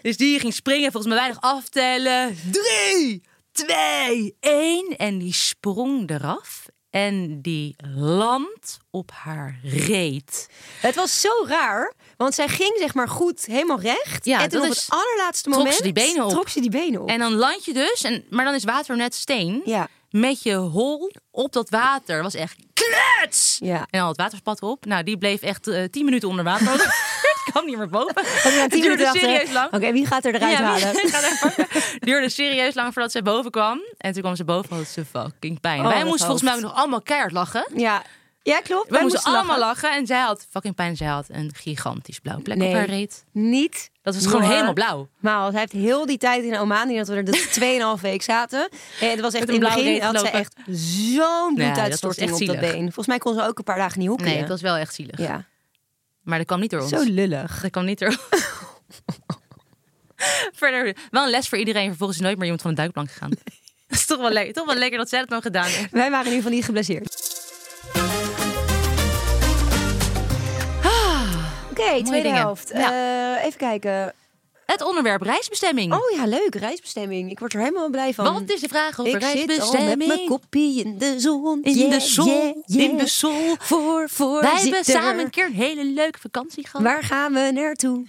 C: Dus die ging springen. Volgens mij weinig aftellen. Drie, twee, één. En die sprong eraf. En die landt op haar reet.
D: Het was zo raar, want zij ging zeg maar goed helemaal recht.
C: Ja,
D: en toen
C: dat
D: op
C: is-
D: het allerlaatste
C: trok ze
D: moment
C: die benen op.
D: trok ze die benen op.
C: En dan land je dus, en, maar dan is water net steen.
D: Ja.
C: Met je hol op dat water. Dat was echt klets!
D: Ja.
C: En dan had het waterspat op. Nou, die bleef echt eh, tien minuten onder water. *laughs* Want het kwam niet meer boven.
D: na
C: Het
D: nou tien
C: duurde
D: minuten dacht
C: serieus
D: ze,
C: lang.
D: Oké, wie gaat er eruit
C: *laughs* Ja,
D: halen?
C: ga daar pakken. duurde serieus lang voordat ze boven kwam. En toen kwam ze boven, had ze fucking pijn.
D: Oh,
C: Wij
D: dat
C: moesten volgens mij ook
D: hoofd.
C: nog allemaal keihard lachen.
D: Ja, ja klopt.
C: We moesten, allemaal lachen. En zij had fucking pijn. Zij had een gigantisch blauw plek op haar reet.
D: niet.
C: Dat was gewoon
D: normaal.
C: helemaal blauw.
D: Maar want hij heeft heel die tijd in Oman, die dat we er
C: *laughs*
D: dus 2,5 week zaten. En het was echt
C: Met
D: in
C: een
D: het
C: blauwe
D: begin
C: reet
D: had ze
C: lopen.
D: echt
C: Ja,
D: zo'n
C: dat
D: bloeduitstorting
C: was
D: op
C: echt
D: dat
C: zielig.
D: been. Volgens mij kon ze ook een paar dagen niet hoeken.
C: Nee, het was wel echt zielig.
D: ja.
C: Maar dat kwam niet door ons.
D: zo lullig.
C: Dat kwam niet door ons. *laughs* Verder, wel een les voor iedereen. Vervolgens is nooit meer iemand van een duikplank
D: *laughs*
C: gegaan. Dat is toch wel, le- toch wel lekker dat zij dat nog gedaan heeft.
D: Wij waren in ieder geval niet geblesseerd. Ah, Oké, tweede
C: dingen.
D: helft. Eh, even kijken.
C: Het onderwerp reisbestemming.
D: Oh ja, leuk. Reisbestemming. Ik word er helemaal blij van.
C: Want het is de vraag over
D: ik zit al met
C: reisbestemming.
D: mijn koppie in de zon.
C: in de
D: Yeah,
C: zon,
D: yeah, yeah.
C: in de zon.
D: Voor, voor,
C: Wij
D: zit
C: hebben
D: er.
C: samen een keer een hele leuke vakantie gehad.
D: Waar gaan we naartoe?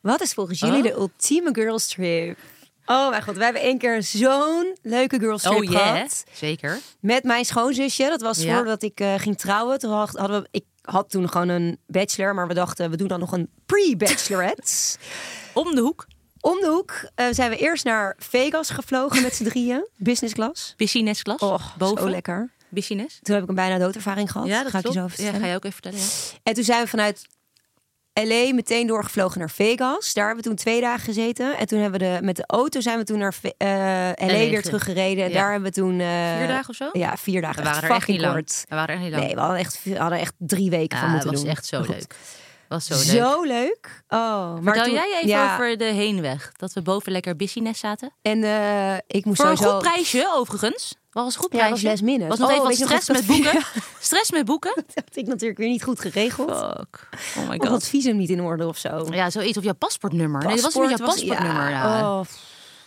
D: Wat is volgens jullie
C: Oh.
D: de ultieme girls trip? Oh mijn god, we hebben één keer zo'n leuke girls trip
C: oh ja,
D: gehad.
C: zeker.
D: Met mijn schoonzusje. Dat was
C: Ja.
D: voordat ik eh, ging trouwen. Toen had- hadden we, ik had toen gewoon een bachelor, maar we dachten we doen dan nog een
C: *laughs*
D: pre-bachelorette.
C: Om de hoek,
D: Om de hoek eh, zijn we eerst naar Vegas gevlogen met z'n drieën. Business class.
C: business-klas.
D: Och,
C: boven.
D: zo lekker.
C: Business.
D: Toen heb ik een bijna doodervaring gehad. ga ik je zo over
C: Ja,
D: vertellen.
C: ga je ook even vertellen. ja.
D: En toen zijn we vanuit LA meteen doorgevlogen naar Vegas. Daar hebben we toen twee dagen gezeten. En toen hebben we de, met de auto zijn we toen naar Ve- eh, LA weer
C: terug.
D: teruggereden. En
C: Ja.
D: daar hebben we toen... eh,
C: Vier dagen of zo?
D: Ja, vier dagen.
C: We waren
D: Echt
C: er echt
D: fucking
C: niet lang.
D: kort.
C: We waren er echt niet lang.
D: Nee, we hadden echt, we hadden echt drie weken van
C: ja, het
D: moeten
C: Ah, was
D: doen.
C: echt zo
D: Maar goed.
C: leuk. Was zo, leuk.
D: Zo leuk. Oh, maar
C: Vertel
D: toen-
C: jij even
D: ja,
C: over de heenweg. Dat we boven lekker business zaten.
D: En eh, ik moest
C: Voor
D: sowieso...
C: een goed prijsje, overigens. Was een goed
D: Ja, dat
C: prijsje.
D: was last minute.
C: Was nog
D: Oh,
C: even wat
D: weet je nog
C: stress
D: dat
C: met
D: ik dat-
C: boeken.
D: *laughs*
C: Stress met boeken.
D: *laughs* Dat had ik natuurlijk weer niet goed geregeld. Oh,
C: Fuck. Oh my
D: ik had *laughs*
C: god.
D: het visum niet in orde of zo.
C: Ja, zoiets. Of jouw paspoortnummer. nee, dat was niet jouw
D: Paspoort was-
C: paspoortnummer.
D: ja,
C: ja.
D: oh,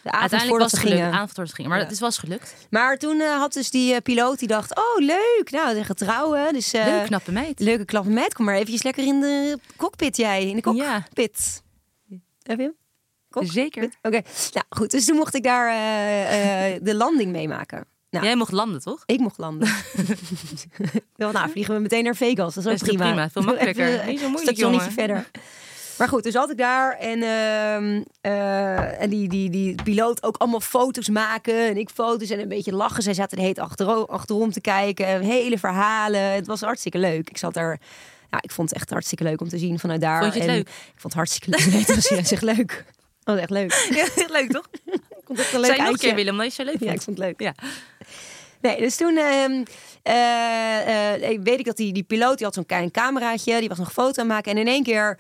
D: de avond
C: Uiteindelijk was het
D: voordat we
C: gelukt.
D: gingen.
C: Avond voordat we gingen. Maar het was gelukt.
D: Maar toen eh, had dus die eh, piloot die dacht: Oh, leuk. Nou, we gaan trouwen. Dus, eh,
C: Leuk, knappe meid.
D: Leuke knappe meid. Kom maar eventjes lekker in de cockpit, jij. In de
C: Ja. Eh,
D: cockpit. Heb je hem? Kok?
C: Zeker.
D: Oké. Nou goed, dus toen mocht ik daar eh, eh, de landing meemaken. Nou,
C: Jij mocht landen, toch?
D: ik mocht landen.
C: *laughs*
D: Ik dacht, nou, vliegen we meteen naar Vegas. Dat is ook
C: Dat is toch
D: prima.
C: prima? Veel makkelijker.
D: *laughs* Even, eh,
C: Niet zo moeilijk,
D: stationnetje
C: jongen.
D: verder. Maar goed, dus had ik daar en, ehm, eh, en die, die, die piloot ook allemaal foto's maken en ik foto's en een beetje lachen. Zij zaten de heet achtero- achterom te kijken, hele verhalen. Het was hartstikke leuk. Ik zat daar, ja, ik vond het echt hartstikke leuk om te zien vanuit daar.
C: Vond je het
D: En
C: leuk?
D: Ik vond het hartstikke leuk. Nee, het was juist echt
C: *laughs*
D: leuk. Dat was echt leuk.
C: Ja, leuk,
D: *laughs*
C: toch?
D: Ik vond het echt een leuk
C: Zijn nog een
D: uitje.
C: keer, Willem, omdat je het zo leuk
D: Ja, ik
C: vond.
D: vond het leuk.
C: *laughs* Ja.
D: Nee, dus toen ehm, eh, eh, ik weet ik dat die, die piloot, die had zo'n klein cameraatje, die was nog een foto aan het maken. En in één keer,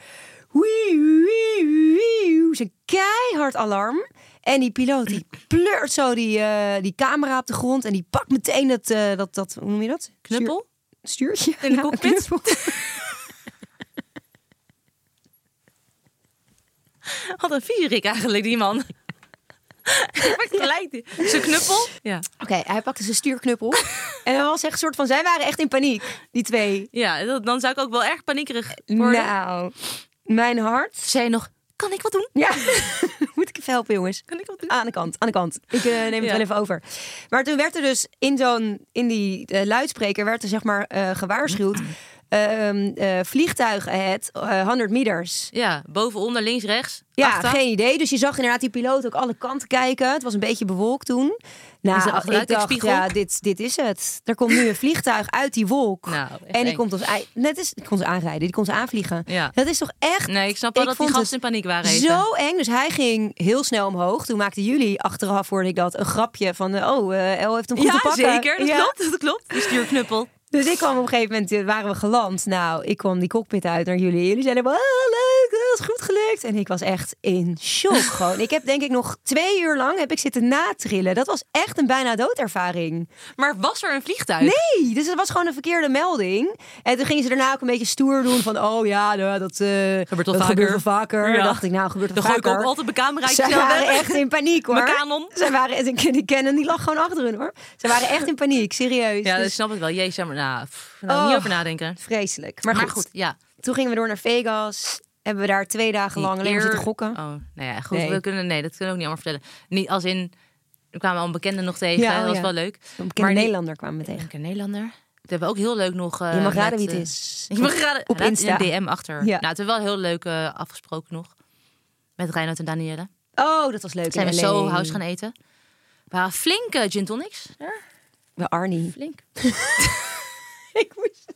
D: wieu, wieu, wieu, zo'n keihard alarm. En die
C: *clears throat*
D: piloot, die pleurt zo die, eh, die camera op de grond en die pakt meteen dat, eh, dat, dat hoe noem je dat?
C: Knuppel?
D: Stuur- stuurtje.
C: In de
D: Ja, een
C: cockpit? *laughs*
D: knuppel.
C: Wat een vierik eigenlijk, die
D: *laughs*
C: man. Wat gelijk die. Zijn knuppel. Ja.
D: Oké, hij pakte zijn stuurknuppel. en dan was echt een soort van, zij waren echt in paniek, die twee.
C: Ja, dat- dan zou ik ook wel erg paniekerig worden.
D: Nou, mijn hart.
C: Zei je nog, kan ik wat doen?
D: Ja, *laughs* moet ik even helpen, jongens?
C: Kan ik wat doen?
D: Aan de kant, aan de kant. Ik eh, neem het
C: Ja.
D: wel even over. Maar toen werd er dus in zo'n, in die eh, luidspreker werd er zeg maar eh,
C: *clears throat*
D: gewaarschuwd. ehm eh vliegtuig ahead, eh, 100 meters.
C: Ja, boven, onder, links, rechts.
D: Ja,
C: achter.
D: geen idee. Dus je zag inderdaad die piloot ook alle kanten kijken. Het was een beetje bewolkt toen. Nou,
C: Is er achteruit
D: ik
C: een
D: dacht,
C: spiegel?
D: ja, dit, dit is het. Er komt nu een vliegtuig uit die wolk.
C: Nou, echt
D: en die
C: eng.
D: komt ons... ei- Net is, die kon ze aanrijden, die kon ze aanvliegen.
C: Ja.
D: Dat is toch echt...
C: Nee, ik snap wel dat die
D: vond
C: gasten
D: het
C: in paniek waren even.
D: Zo eng. Dus hij ging heel snel omhoog. Toen maakten jullie, achteraf hoorde ik dat, een grapje van... eh, Oh, eh El heeft hem goed
C: ja,
D: te pakken.
C: zeker. Dat
D: Ja.
C: klopt, dat klopt. Die stuurknuppel.
D: Dus ik kwam op een gegeven moment, eh, waren we geland. Nou, ik kwam die cockpit uit naar jullie. Jullie zeiden, ah, leuk, dat is goed gelukt. En ik was echt in shock gewoon. Ik heb denk ik nog twee uur lang heb ik zitten natrillen. Dat was echt een bijna doodervaring.
C: Maar was er een vliegtuig?
D: Nee, dus het was gewoon een verkeerde melding. En toen gingen ze daarna ook een beetje stoer doen van... oh ja, nou, dat, eh,
C: Gebeurt wel
D: dat
C: vaker.
D: gebeurt wel vaker.
C: Ja.
D: dacht ik, nou, gebeurt wel
C: Dan gooi ik
D: vaker.
C: ook altijd mijn cameraatje
D: Ze
C: snel
D: waren
C: weg.
D: echt in paniek hoor.
C: Mijn kanon.
D: Ze waren, die kennen, die lag gewoon achter hun hoor. Ze waren echt in paniek, serieus.
C: Ja,
D: Dus
C: dat snap ik wel. Jezus, maar nou, pff, nou, niet
D: Oh.
C: over nadenken.
D: Vreselijk.
C: Maar goed, ja.
D: toen gingen we door naar Vegas. Hebben we daar twee dagen lang alleen maar
C: Eer-
D: zitten gokken.
C: Oh, nou ja, goed.
D: Nee.
C: We kunnen, nee, dat kunnen we ook niet allemaal vertellen. Niet als in, we kwamen al een bekende nog tegen.
D: Ja, oh
C: dat was
D: ja.
C: wel leuk.
D: Een
C: Maar
D: bekende
C: die-
D: Nederlander kwamen we tegen.
C: Een keer Nederlander. Dat hebben we ook heel leuk nog. eh,
D: Je mag raden
C: met,
D: wie het
C: eh,
D: is.
C: *laughs* Je mag raden.
D: Op
C: raad in
D: Insta.
C: een DM achter.
D: Ja.
C: Nou, het hebben we wel heel leuk eh, afgesproken nog. Met Reinhard en Danielle.
D: Oh, dat was leuk.
C: Zijn
D: in
C: we
D: LA.
C: zo house gaan eten. We waren flink eh, gin tonics. Ja,
D: Bij Arnie.
C: flink.
D: *laughs* Ik *laughs* moest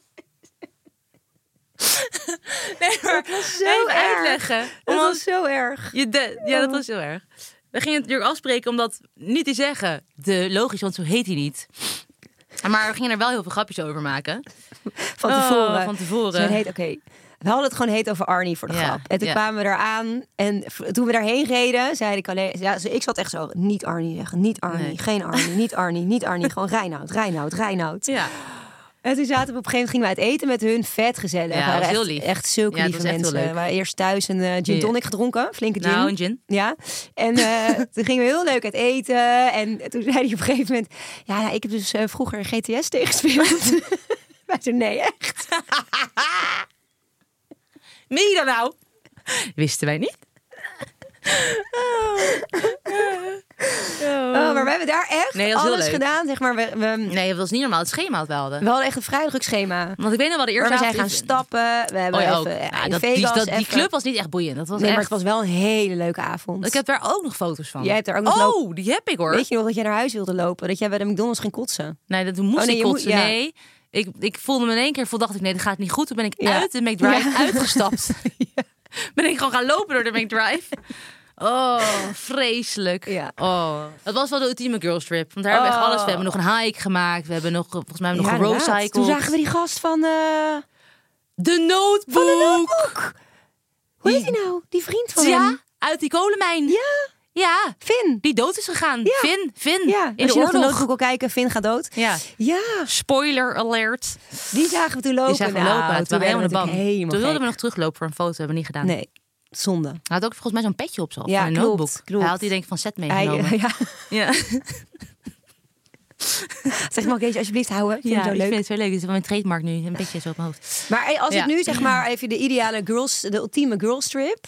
C: Nee, maar
D: zo
C: even
D: erg.
C: uitleggen.
D: Dat
C: Omdat
D: was zo erg.
C: je de- ja, dat was heel erg. We gingen het natuurlijk afspreken om dat niet te zeggen. De logisch, want zo heet hij niet. Maar we gingen er wel heel veel grapjes over maken.
D: Van
C: Oh,
D: tevoren.
C: van tevoren.
D: Zo heet, oké. We hadden het gewoon heet over Arnie voor de
C: Ja,
D: grap. En toen
C: ja.
D: kwamen we eraan. En v- toen we daarheen reden, zei ik alleen... Ja, zo- ik zat echt zo, niet Arnie zeggen. Niet Arnie.
C: Nee.
D: Geen Arnie. Niet Arnie. Niet *laughs* Arnie. Gewoon Reinoud. Reinoud. Reinoud.
C: Ja.
D: En toen zaten we op een gegeven moment gingen we uit eten met hun. Vet gezellig.
C: Ja,
D: We waren
C: was heel
D: echt,
C: lief.
D: Echt zulke
C: Ja, het
D: lieve
C: was echt heel
D: mensen.
C: leuk.
D: We waren eerst thuis een eh,
C: Ja.
D: gin tonic gedronken. Flinke gin.
C: Nou, een gin.
D: Ja. En
C: *laughs*
D: eh, toen gingen we heel leuk uit eten. En toen zei hij op een gegeven moment... Ja, ja, ik heb dus eh, vroeger GTS tegengespeeld.
C: *laughs*
D: Wij zeiden, nee, echt.
C: Meen je dat nou? Wisten wij niet.
D: Oh, maar we hebben daar echt
C: Nee, dat is heel
D: alles
C: leuk.
D: gedaan. Zeg maar, we, we,
C: Nee, dat was niet normaal. Het schema had we hadden.
D: we hadden echt een vrij druk schema.
C: Want ik weet nog wel de
D: Maar
C: eerste
D: we zijn
C: avond
D: gaan
C: is-
D: stappen. We hebben
C: Oh ja, ook.
D: even, ja,
C: Ja,
D: in
C: dat, die,
D: Vegas
C: dat- die
D: even-
C: club was niet echt boeiend. Dat was
D: Nee, maar
C: echt...
D: het was wel een hele leuke avond.
C: Ik heb daar ook nog foto's van.
D: Jij hebt daar ook nog
C: Oh, die heb ik hoor.
D: Weet je nog dat jij naar huis wilde lopen? Dat jij bij de McDonald's ging kotsen?
C: Nee, dat toen moest
D: Oh, nee,
C: ik
D: je moet-
C: kotsen.
D: ja.
C: Nee, ik, ik voelde me in één keer, voel, dacht ik, nee, dat gaat niet goed. Toen ben ik
D: Ja.
C: uit de McDrive
D: Ja. *laughs*
C: uitgestapt. Ben ik gewoon gaan lopen door de McDrive. Oh, vreselijk.
D: Ja.
C: Oh. Dat was wel de ultieme girls trip. Want daar hebben we echt
D: Oh.
C: alles. We hebben nog een hike gemaakt. We hebben nog, volgens mij hebben we
D: Ja,
C: nog
D: inderdaad.
C: geroadcycled.
D: Toen zagen we die gast van, eh
C: De notebook.
D: van de notebook. Hoe heet die nou? Die vriend van
C: Ja,
D: hem.
C: uit die kolenmijn.
D: Ja,
C: Ja.
D: Finn.
C: Die dood is gegaan.
D: Ja.
C: Finn, Finn.
D: Ja,
C: in
D: als
C: de
D: je nog de
C: oorlog.
D: notebook wil kijken, Finn gaat dood.
C: Ja.
D: Ja,
C: Spoiler alert.
D: die zagen we toen lopen.
C: Die zijn
D: Nou,
C: gelopen. Het
D: toen
C: waren helemaal
D: werden
C: de
D: we
C: band.
D: natuurlijk
C: Toen wilden we
D: helemaal
C: nog teruglopen voor een foto. Hebben we niet gedaan.
D: gek. Nee, zonde.
C: Hij had ook volgens mij zo'n petje op zelf.
D: Ja,
C: van een
D: klopt,
C: notebook.
D: klopt.
C: Hij had die denk ik van set
D: Hij,
C: meegenomen.
D: *laughs* ja,
C: ja.
D: zeg maar, deze alsjeblieft houden. Vind ja,
C: ik
D: zo leuk.
C: vind het wel leuk. Dit is wel mijn trademark nu. Een beetje zo op mijn hoofd.
D: Maar hey, als
C: Ja.
D: ik nu zeg maar even de ideale girls, de ultieme girls trip.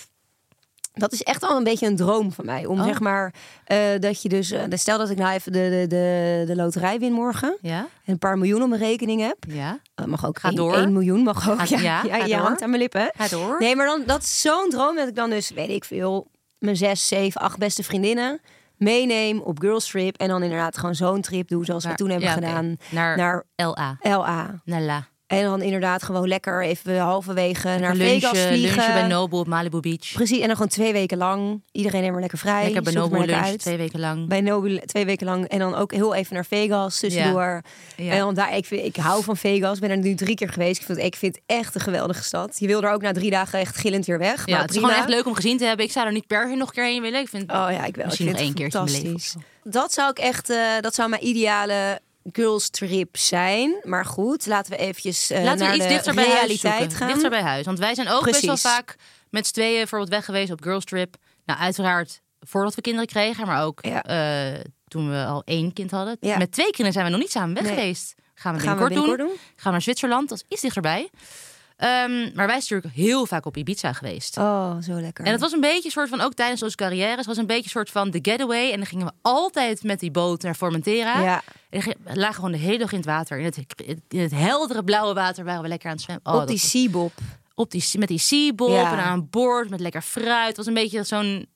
D: Dat is echt al een beetje een droom van mij. Om
C: Oh.
D: zeg maar eh, dat je dus. eh, stel dat ik nou even de, de, de, de loterij win morgen.
C: Ja?
D: En een paar miljoen op mijn rekening heb.
C: Ja?
D: Dat mag ook.
C: Ga
D: één-
C: door.
D: één miljoen mag ook.
C: Gaat-
D: ja,
C: ja,
D: ja, ja,
C: ga door.
D: hangt aan mijn lippen.
C: Ga door.
D: Nee, maar dan, dat is zo'n droom dat ik dan dus, weet ik veel, mijn zes, zeven, acht beste vriendinnen meeneem op girls trip. En dan inderdaad gewoon zo'n trip doe zoals
C: Naar-
D: we toen hebben
C: ja, oké.
D: gedaan.
C: Naar-
D: naar
C: L.A.
D: LA.
C: Nella.
D: En dan inderdaad gewoon lekker even halverwege naar
C: Lunchen,
D: Vegas vliegen.
C: lunchen bij Noble op Malibu Beach.
D: Precies, en dan gewoon twee weken lang. Iedereen helemaal lekker vrij.
C: Lekker bij
D: zoek het
C: Noble
D: maar
C: lunchen.
D: lekker uit.
C: Twee weken lang.
D: Bij Nobu twee weken lang. En dan ook heel even naar Vegas tussendoor.
C: Ja.
D: En dan daar, ik, vind- ik hou van Vegas. ben er nu drie keer geweest. Ik vind, ik vind het echt een geweldige stad. Je wil er ook na drie dagen echt gillend weer weg.
C: ja,
D: maar
C: het is
D: prima.
C: gewoon echt leuk om gezien te hebben. Ik zou er niet per se nog een keer heen willen. Ik vind,
D: Oh ja, ik wel.
C: Misschien
D: ik
C: nog één
D: vind het
C: keertje in mijn leven.
D: fantastisch. Dat zou ik echt, eh, dat zou mijn ideale girls trip zijn. Maar goed, laten we eventjes eh,
C: Laten
D: naar
C: we iets
D: de
C: dichter bij huis
D: realiteit
C: zoeken.
D: gaan.
C: Dichter bij huis. Want wij zijn ook best
D: Precies.
C: wel vaak met z'n tweeën bijvoorbeeld weg geweest op Girls Trip. Nou, uiteraard voordat we kinderen kregen, maar ook
D: Ja.
C: eh, toen we al één kind hadden.
D: Ja.
C: Met twee kinderen zijn we nog niet samen weg
D: Nee.
C: geweest. Gaan we
D: Gaan we
C: binnenkort, doen.
D: binnenkort doen.
C: Gaan we naar Zwitserland, dat is iets dichterbij. Ehm, maar wij zijn natuurlijk heel vaak op Ibiza geweest.
D: Oh, zo lekker.
C: En het was een beetje een soort van, ook tijdens onze carrières, het was een beetje een soort van de getaway. En dan gingen we altijd met die boot naar Formentera.
D: Ja.
C: En dan lagen we gewoon de hele dag in het water. In het, in het heldere blauwe water waren we lekker aan het zwemmen. Oh,
D: op
C: dat
D: die
C: was-
D: Seabob.
C: op die, met die seabob
D: Ja.
C: en aan boord met lekker fruit. Het was een beetje zo'n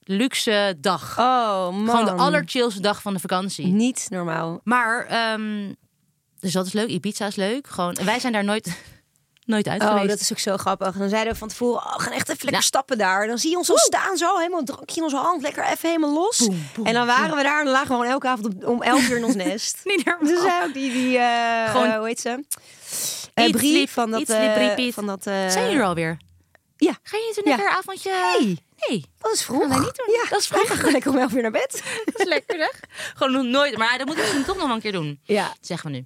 C: luxe dag.
D: Oh man. Mm.
C: Gewoon de allerchillste dag van de vakantie.
D: Niet normaal.
C: Maar, ehm, dus dat is leuk. Ibiza is leuk. Gewoon, en wij zijn daar nooit, *laughs* nooit uit
D: Oh,
C: geweest.
D: dat is ook zo grappig. Dan zeiden we van tevoren, oh, we gaan echt even lekker
C: Ja.
D: stappen daar. Dan zie je ons al staan zo, helemaal drankje in onze hand, lekker even helemaal los. en dan waren we daar en dan lagen we gewoon elke avond op- om elf uur in ons nest.
C: *laughs* Niet normaal.
D: Dus zei ook die, die eh
C: Gewoon-
D: eh, hoe heet ze? Eh,
C: Iets
D: Brie
C: lief,
D: van dat...
C: iets lief,
D: eh,
C: Brie Piet.
D: van dat eh,
C: zijn jullie er alweer?
D: Ja,
C: Ga je niet een
D: Ja.
C: lekker avondje?
D: Hey.
C: Nee.
D: dat is vroeg.
C: wij niet doen.
D: Ja,
C: Dat is
D: wij
C: vroeg.
D: gaan gewoon lekker om elf uur naar bed.
C: Dat is
D: *laughs*
C: lekker, zeg. Gewoon nog nooit. Maar dat moeten we misschien toch nog wel een keer doen.
D: *laughs* Ja.
C: Zeggen we nu.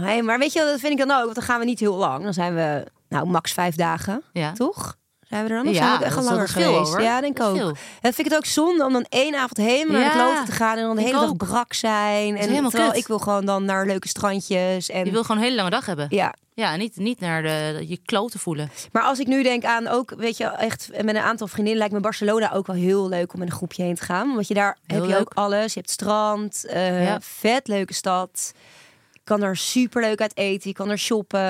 D: Hey, maar weet je, dat vind ik dan ook. Want dan gaan we niet heel lang. Dan zijn we, nou, max vijf dagen.
C: Ja.
D: Toch? Zijn we er dan? Of
C: Ja,
D: zijn we ook echt
C: dat
D: al
C: is
D: langer
C: wel veel,
D: geweest?
C: hoor.
D: Ja, denk ik
C: Dat is
D: ook.
C: veel.
D: En dat vind ik het ook zonde om dan één avond helemaal naar de
C: Ja,
D: kloten te gaan. En dan de
C: vind
D: hele
C: ik
D: dag
C: ook.
D: brak zijn. En
C: helemaal
D: terwijl
C: kut.
D: ik wil gewoon dan naar leuke strandjes. En,
C: Je wil gewoon een hele lange dag hebben.
D: Ja,
C: Ja, en niet, niet naar de, je kloten voelen.
D: Maar als ik nu denk aan ook, weet je, echt met een aantal vriendinnen lijkt me Barcelona ook wel heel leuk om met een groepje heen te gaan. Want je daar
C: Heel
D: heb je
C: leuk.
D: ook alles. Je hebt strand, eh,
C: Ja.
D: vet leuke stad. Je kan er super leuk uit eten, je kan er shoppen.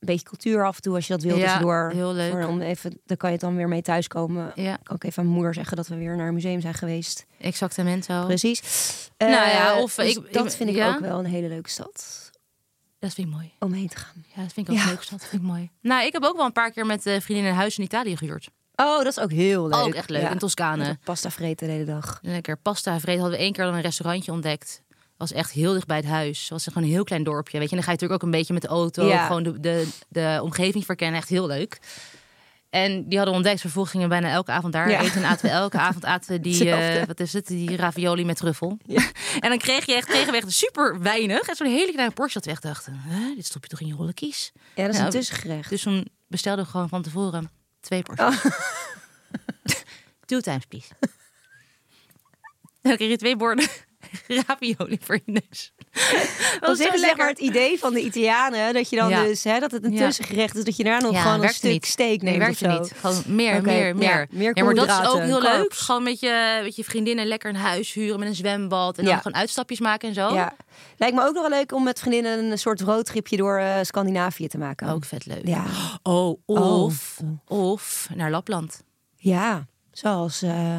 D: Een beetje cultuur af en toe als je dat wilt.
C: Ja,
D: tussendoor.
C: heel leuk.
D: Voor om even, dan kan je het dan weer mee thuiskomen.
C: Ja.
D: Ik kan ook even aan mijn moeder zeggen dat we weer naar een museum zijn geweest.
C: Exactamento.
D: Precies.
C: Oh. Nou
D: Eh,
C: ja, of
D: dus
C: ik-
D: dat
C: ik-
D: vind ik
C: ja.
D: ook wel een hele leuke stad
C: Dat vind ik mooi.
D: om heen te gaan.
C: Ja, dat vind ik ook
D: Ja.
C: leuk. schat. Dat vind ik mooi. Nou, ik heb ook wel een paar keer met eh, vriendinnen een huis in Italië gehuurd.
D: Oh, dat is ook heel leuk.
C: Ook echt leuk. In Toscane.
D: Met Pasta vreten de hele dag.
C: Lekker pasta vreten. Hadden we één keer al een restaurantje ontdekt. Was echt heel dicht bij het huis. Was gewoon een heel klein dorpje. Weet je, en dan ga je natuurlijk ook een beetje met de auto.
D: Ja.
C: Gewoon de, de, de omgeving verkennen. Echt heel leuk. En die hadden we ontdekt. dus Vervolgens gingen we bijna elke avond daar
D: Ja.
C: eten. En aten we elke avond aten
D: *laughs*
C: we die, eh,
D: Hetzelfde.
C: wat is het, die ravioli met truffel. en dan kreeg je echt tegenweg super weinig. En zo'n hele kleine portie dat we echt dachten. Hè, dit stop je toch in je holle kies?
D: Ja, dat is
C: Nou,
D: een tussengerecht.
C: Dus toen bestelden we gewoon van tevoren twee porties.
D: Oh.
C: *laughs* Two times please. En dan kreeg je twee borden *laughs* ravioli voor je neus. Dat
D: Dat
C: was
D: is
C: zo lekker.
D: echt lekker het idee van de Italianen. Dat je dan
C: Ja.
D: dus, hè, dat het een
C: Ja.
D: tussengerecht is. Dat je daar nog
C: Ja,
D: gewoon een
C: werkte
D: stuk
C: niet.
D: steek
C: Nee,
D: neemt
C: werkte
D: of zo.
C: niet. Gewoon meer,
D: Oké, ja,
C: meer, meer.
D: meer
C: Ja, maar dat is ook heel
D: koolhydraten,
C: leuk.
D: carbs.
C: Gewoon met je, met je vriendinnen lekker een huis huren met een zwembad. En
D: Ja.
C: dan gewoon uitstapjes maken en zo.
D: Ja. Lijkt me ook nog wel leuk om met vriendinnen een soort roadtripje door eh, Scandinavië te maken.
C: Ook vet leuk.
D: Ja.
C: Oh, of, of naar Lapland.
D: Ja, zoals eh,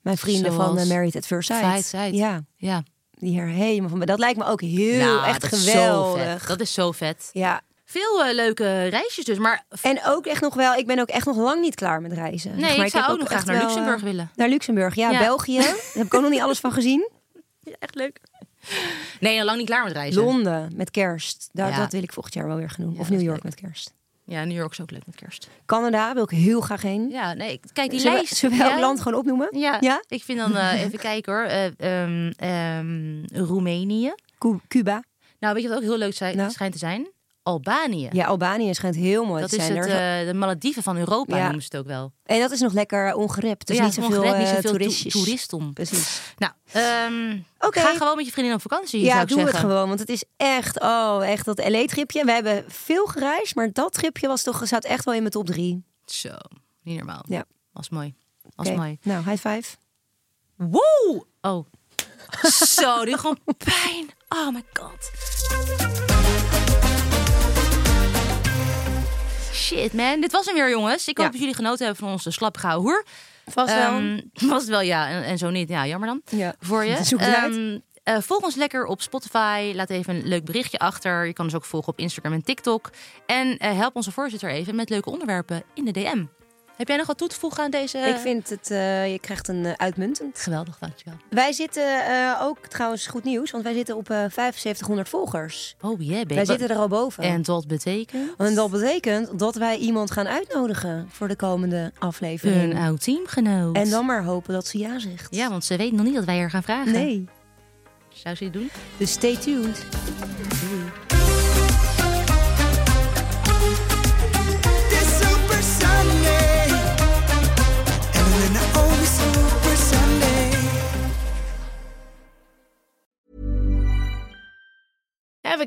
D: mijn vrienden van
C: Zoals
D: eh, Married at First Sight.
C: First Sight.
D: Ja,
C: Ja.
D: die er helemaal van. Dat lijkt me ook heel
C: Nou,
D: echt
C: dat is zo vet.
D: geweldig.
C: Dat is zo vet.
D: Ja.
C: Veel eh, leuke reisjes dus. Maar
D: En ook echt nog wel, ik ben ook echt nog lang niet klaar met reizen. Zeg
C: ik
D: maar,
C: zou
D: heb
C: ook nog graag
D: echt
C: naar
D: wel,
C: Luxemburg
D: eh,
C: willen.
D: Naar Luxemburg, ja.
C: Ja.
D: België. Daar
C: *laughs*
D: heb ik ook nog niet alles van gezien.
C: echt leuk. Nee, nog lang niet klaar met reizen.
D: Londen met kerst. Daar,
C: Ja.
D: Dat wil ik volgend jaar wel weer gaan doen. of
C: dat
D: New
C: is
D: York
C: leuk.
D: met kerst.
C: Ja, New York is ook leuk met kerst.
D: Canada wil ik heel graag heen.
C: Ja, nee, ik- kijk, die
D: Zullen we-
C: lijst.
D: zullen we elk
C: ja,
D: land gewoon opnoemen?
C: Ja, ik vind dan,
D: *laughs*
C: eh, even kijken hoor, Eh, ehm, ehm, Roemenië.
D: Cu- Cuba.
C: Nou, weet je wat ook heel leuk zijn,
D: Nou?
C: schijnt te zijn? Albanië.
D: Ja, Albanië schijnt heel mooi
C: dat
D: te
C: is
D: zijn.
C: het,
D: Er-
C: eh, de Malediven van Europa
D: Ja.
C: noemen ze het ook wel.
D: en dat is nog lekker ongeript. Dus
C: Ja,
D: niet zoveel,
C: ongerept,
D: eh,
C: niet zoveel to-
D: toeristjes.
C: toeristen.
D: Precies.
C: Nou, ehm,
D: Oké.
C: ga gewoon met je vriendin op vakantie, zou
D: Ja,
C: ik
D: doe
C: zeggen.
D: het gewoon. Want het is echt, oh, echt dat LA-tripje. We hebben veel gereisd, maar dat tripje was toch, zat echt wel in mijn top drie.
C: Zo, niet normaal.
D: Ja.
C: Was mooi. Was
D: Oké.
C: mooi.
D: Nou, high five.
C: Woe! Oh. Zo, die gewoon pijn. Oh my god. Shit, man. Dit was hem weer, jongens. Ik hoop
D: Ja.
C: dat jullie genoten hebben van onze slapgauw hoer.
D: Vast wel.
C: Ehm, was wel, ja. En, en zo niet. Ja, jammer dan.
D: Ja.
C: Voor je.
D: *laughs* Zoek het uit.
C: Ehm, eh, volg ons lekker op Spotify. Laat even een leuk berichtje achter. Je kan ons ook volgen op Instagram en TikTok. En eh, help onze voorzitter even met leuke onderwerpen in de DM. Heb jij nog wat toe te voegen aan deze?
D: ik vind het, eh, je krijgt een eh, uitmuntend.
C: Geweldig, dankjewel.
D: Wij zitten eh, ook trouwens goed nieuws, want wij zitten op eh 7500 volgers.
C: Oh yeah, baby.
D: Wij zitten er al boven.
C: En dat betekent
D: En dat betekent dat wij iemand gaan uitnodigen voor de komende aflevering.
C: een oud teamgenoot.
D: En dan maar hopen dat ze ja zegt.
C: Ja, want ze weet nog niet dat wij haar gaan vragen.
D: Nee.
C: Zou ze dit doen?
D: Dus stay tuned.
B: This Super Sunday, and then I always Super Sunday.
A: Ever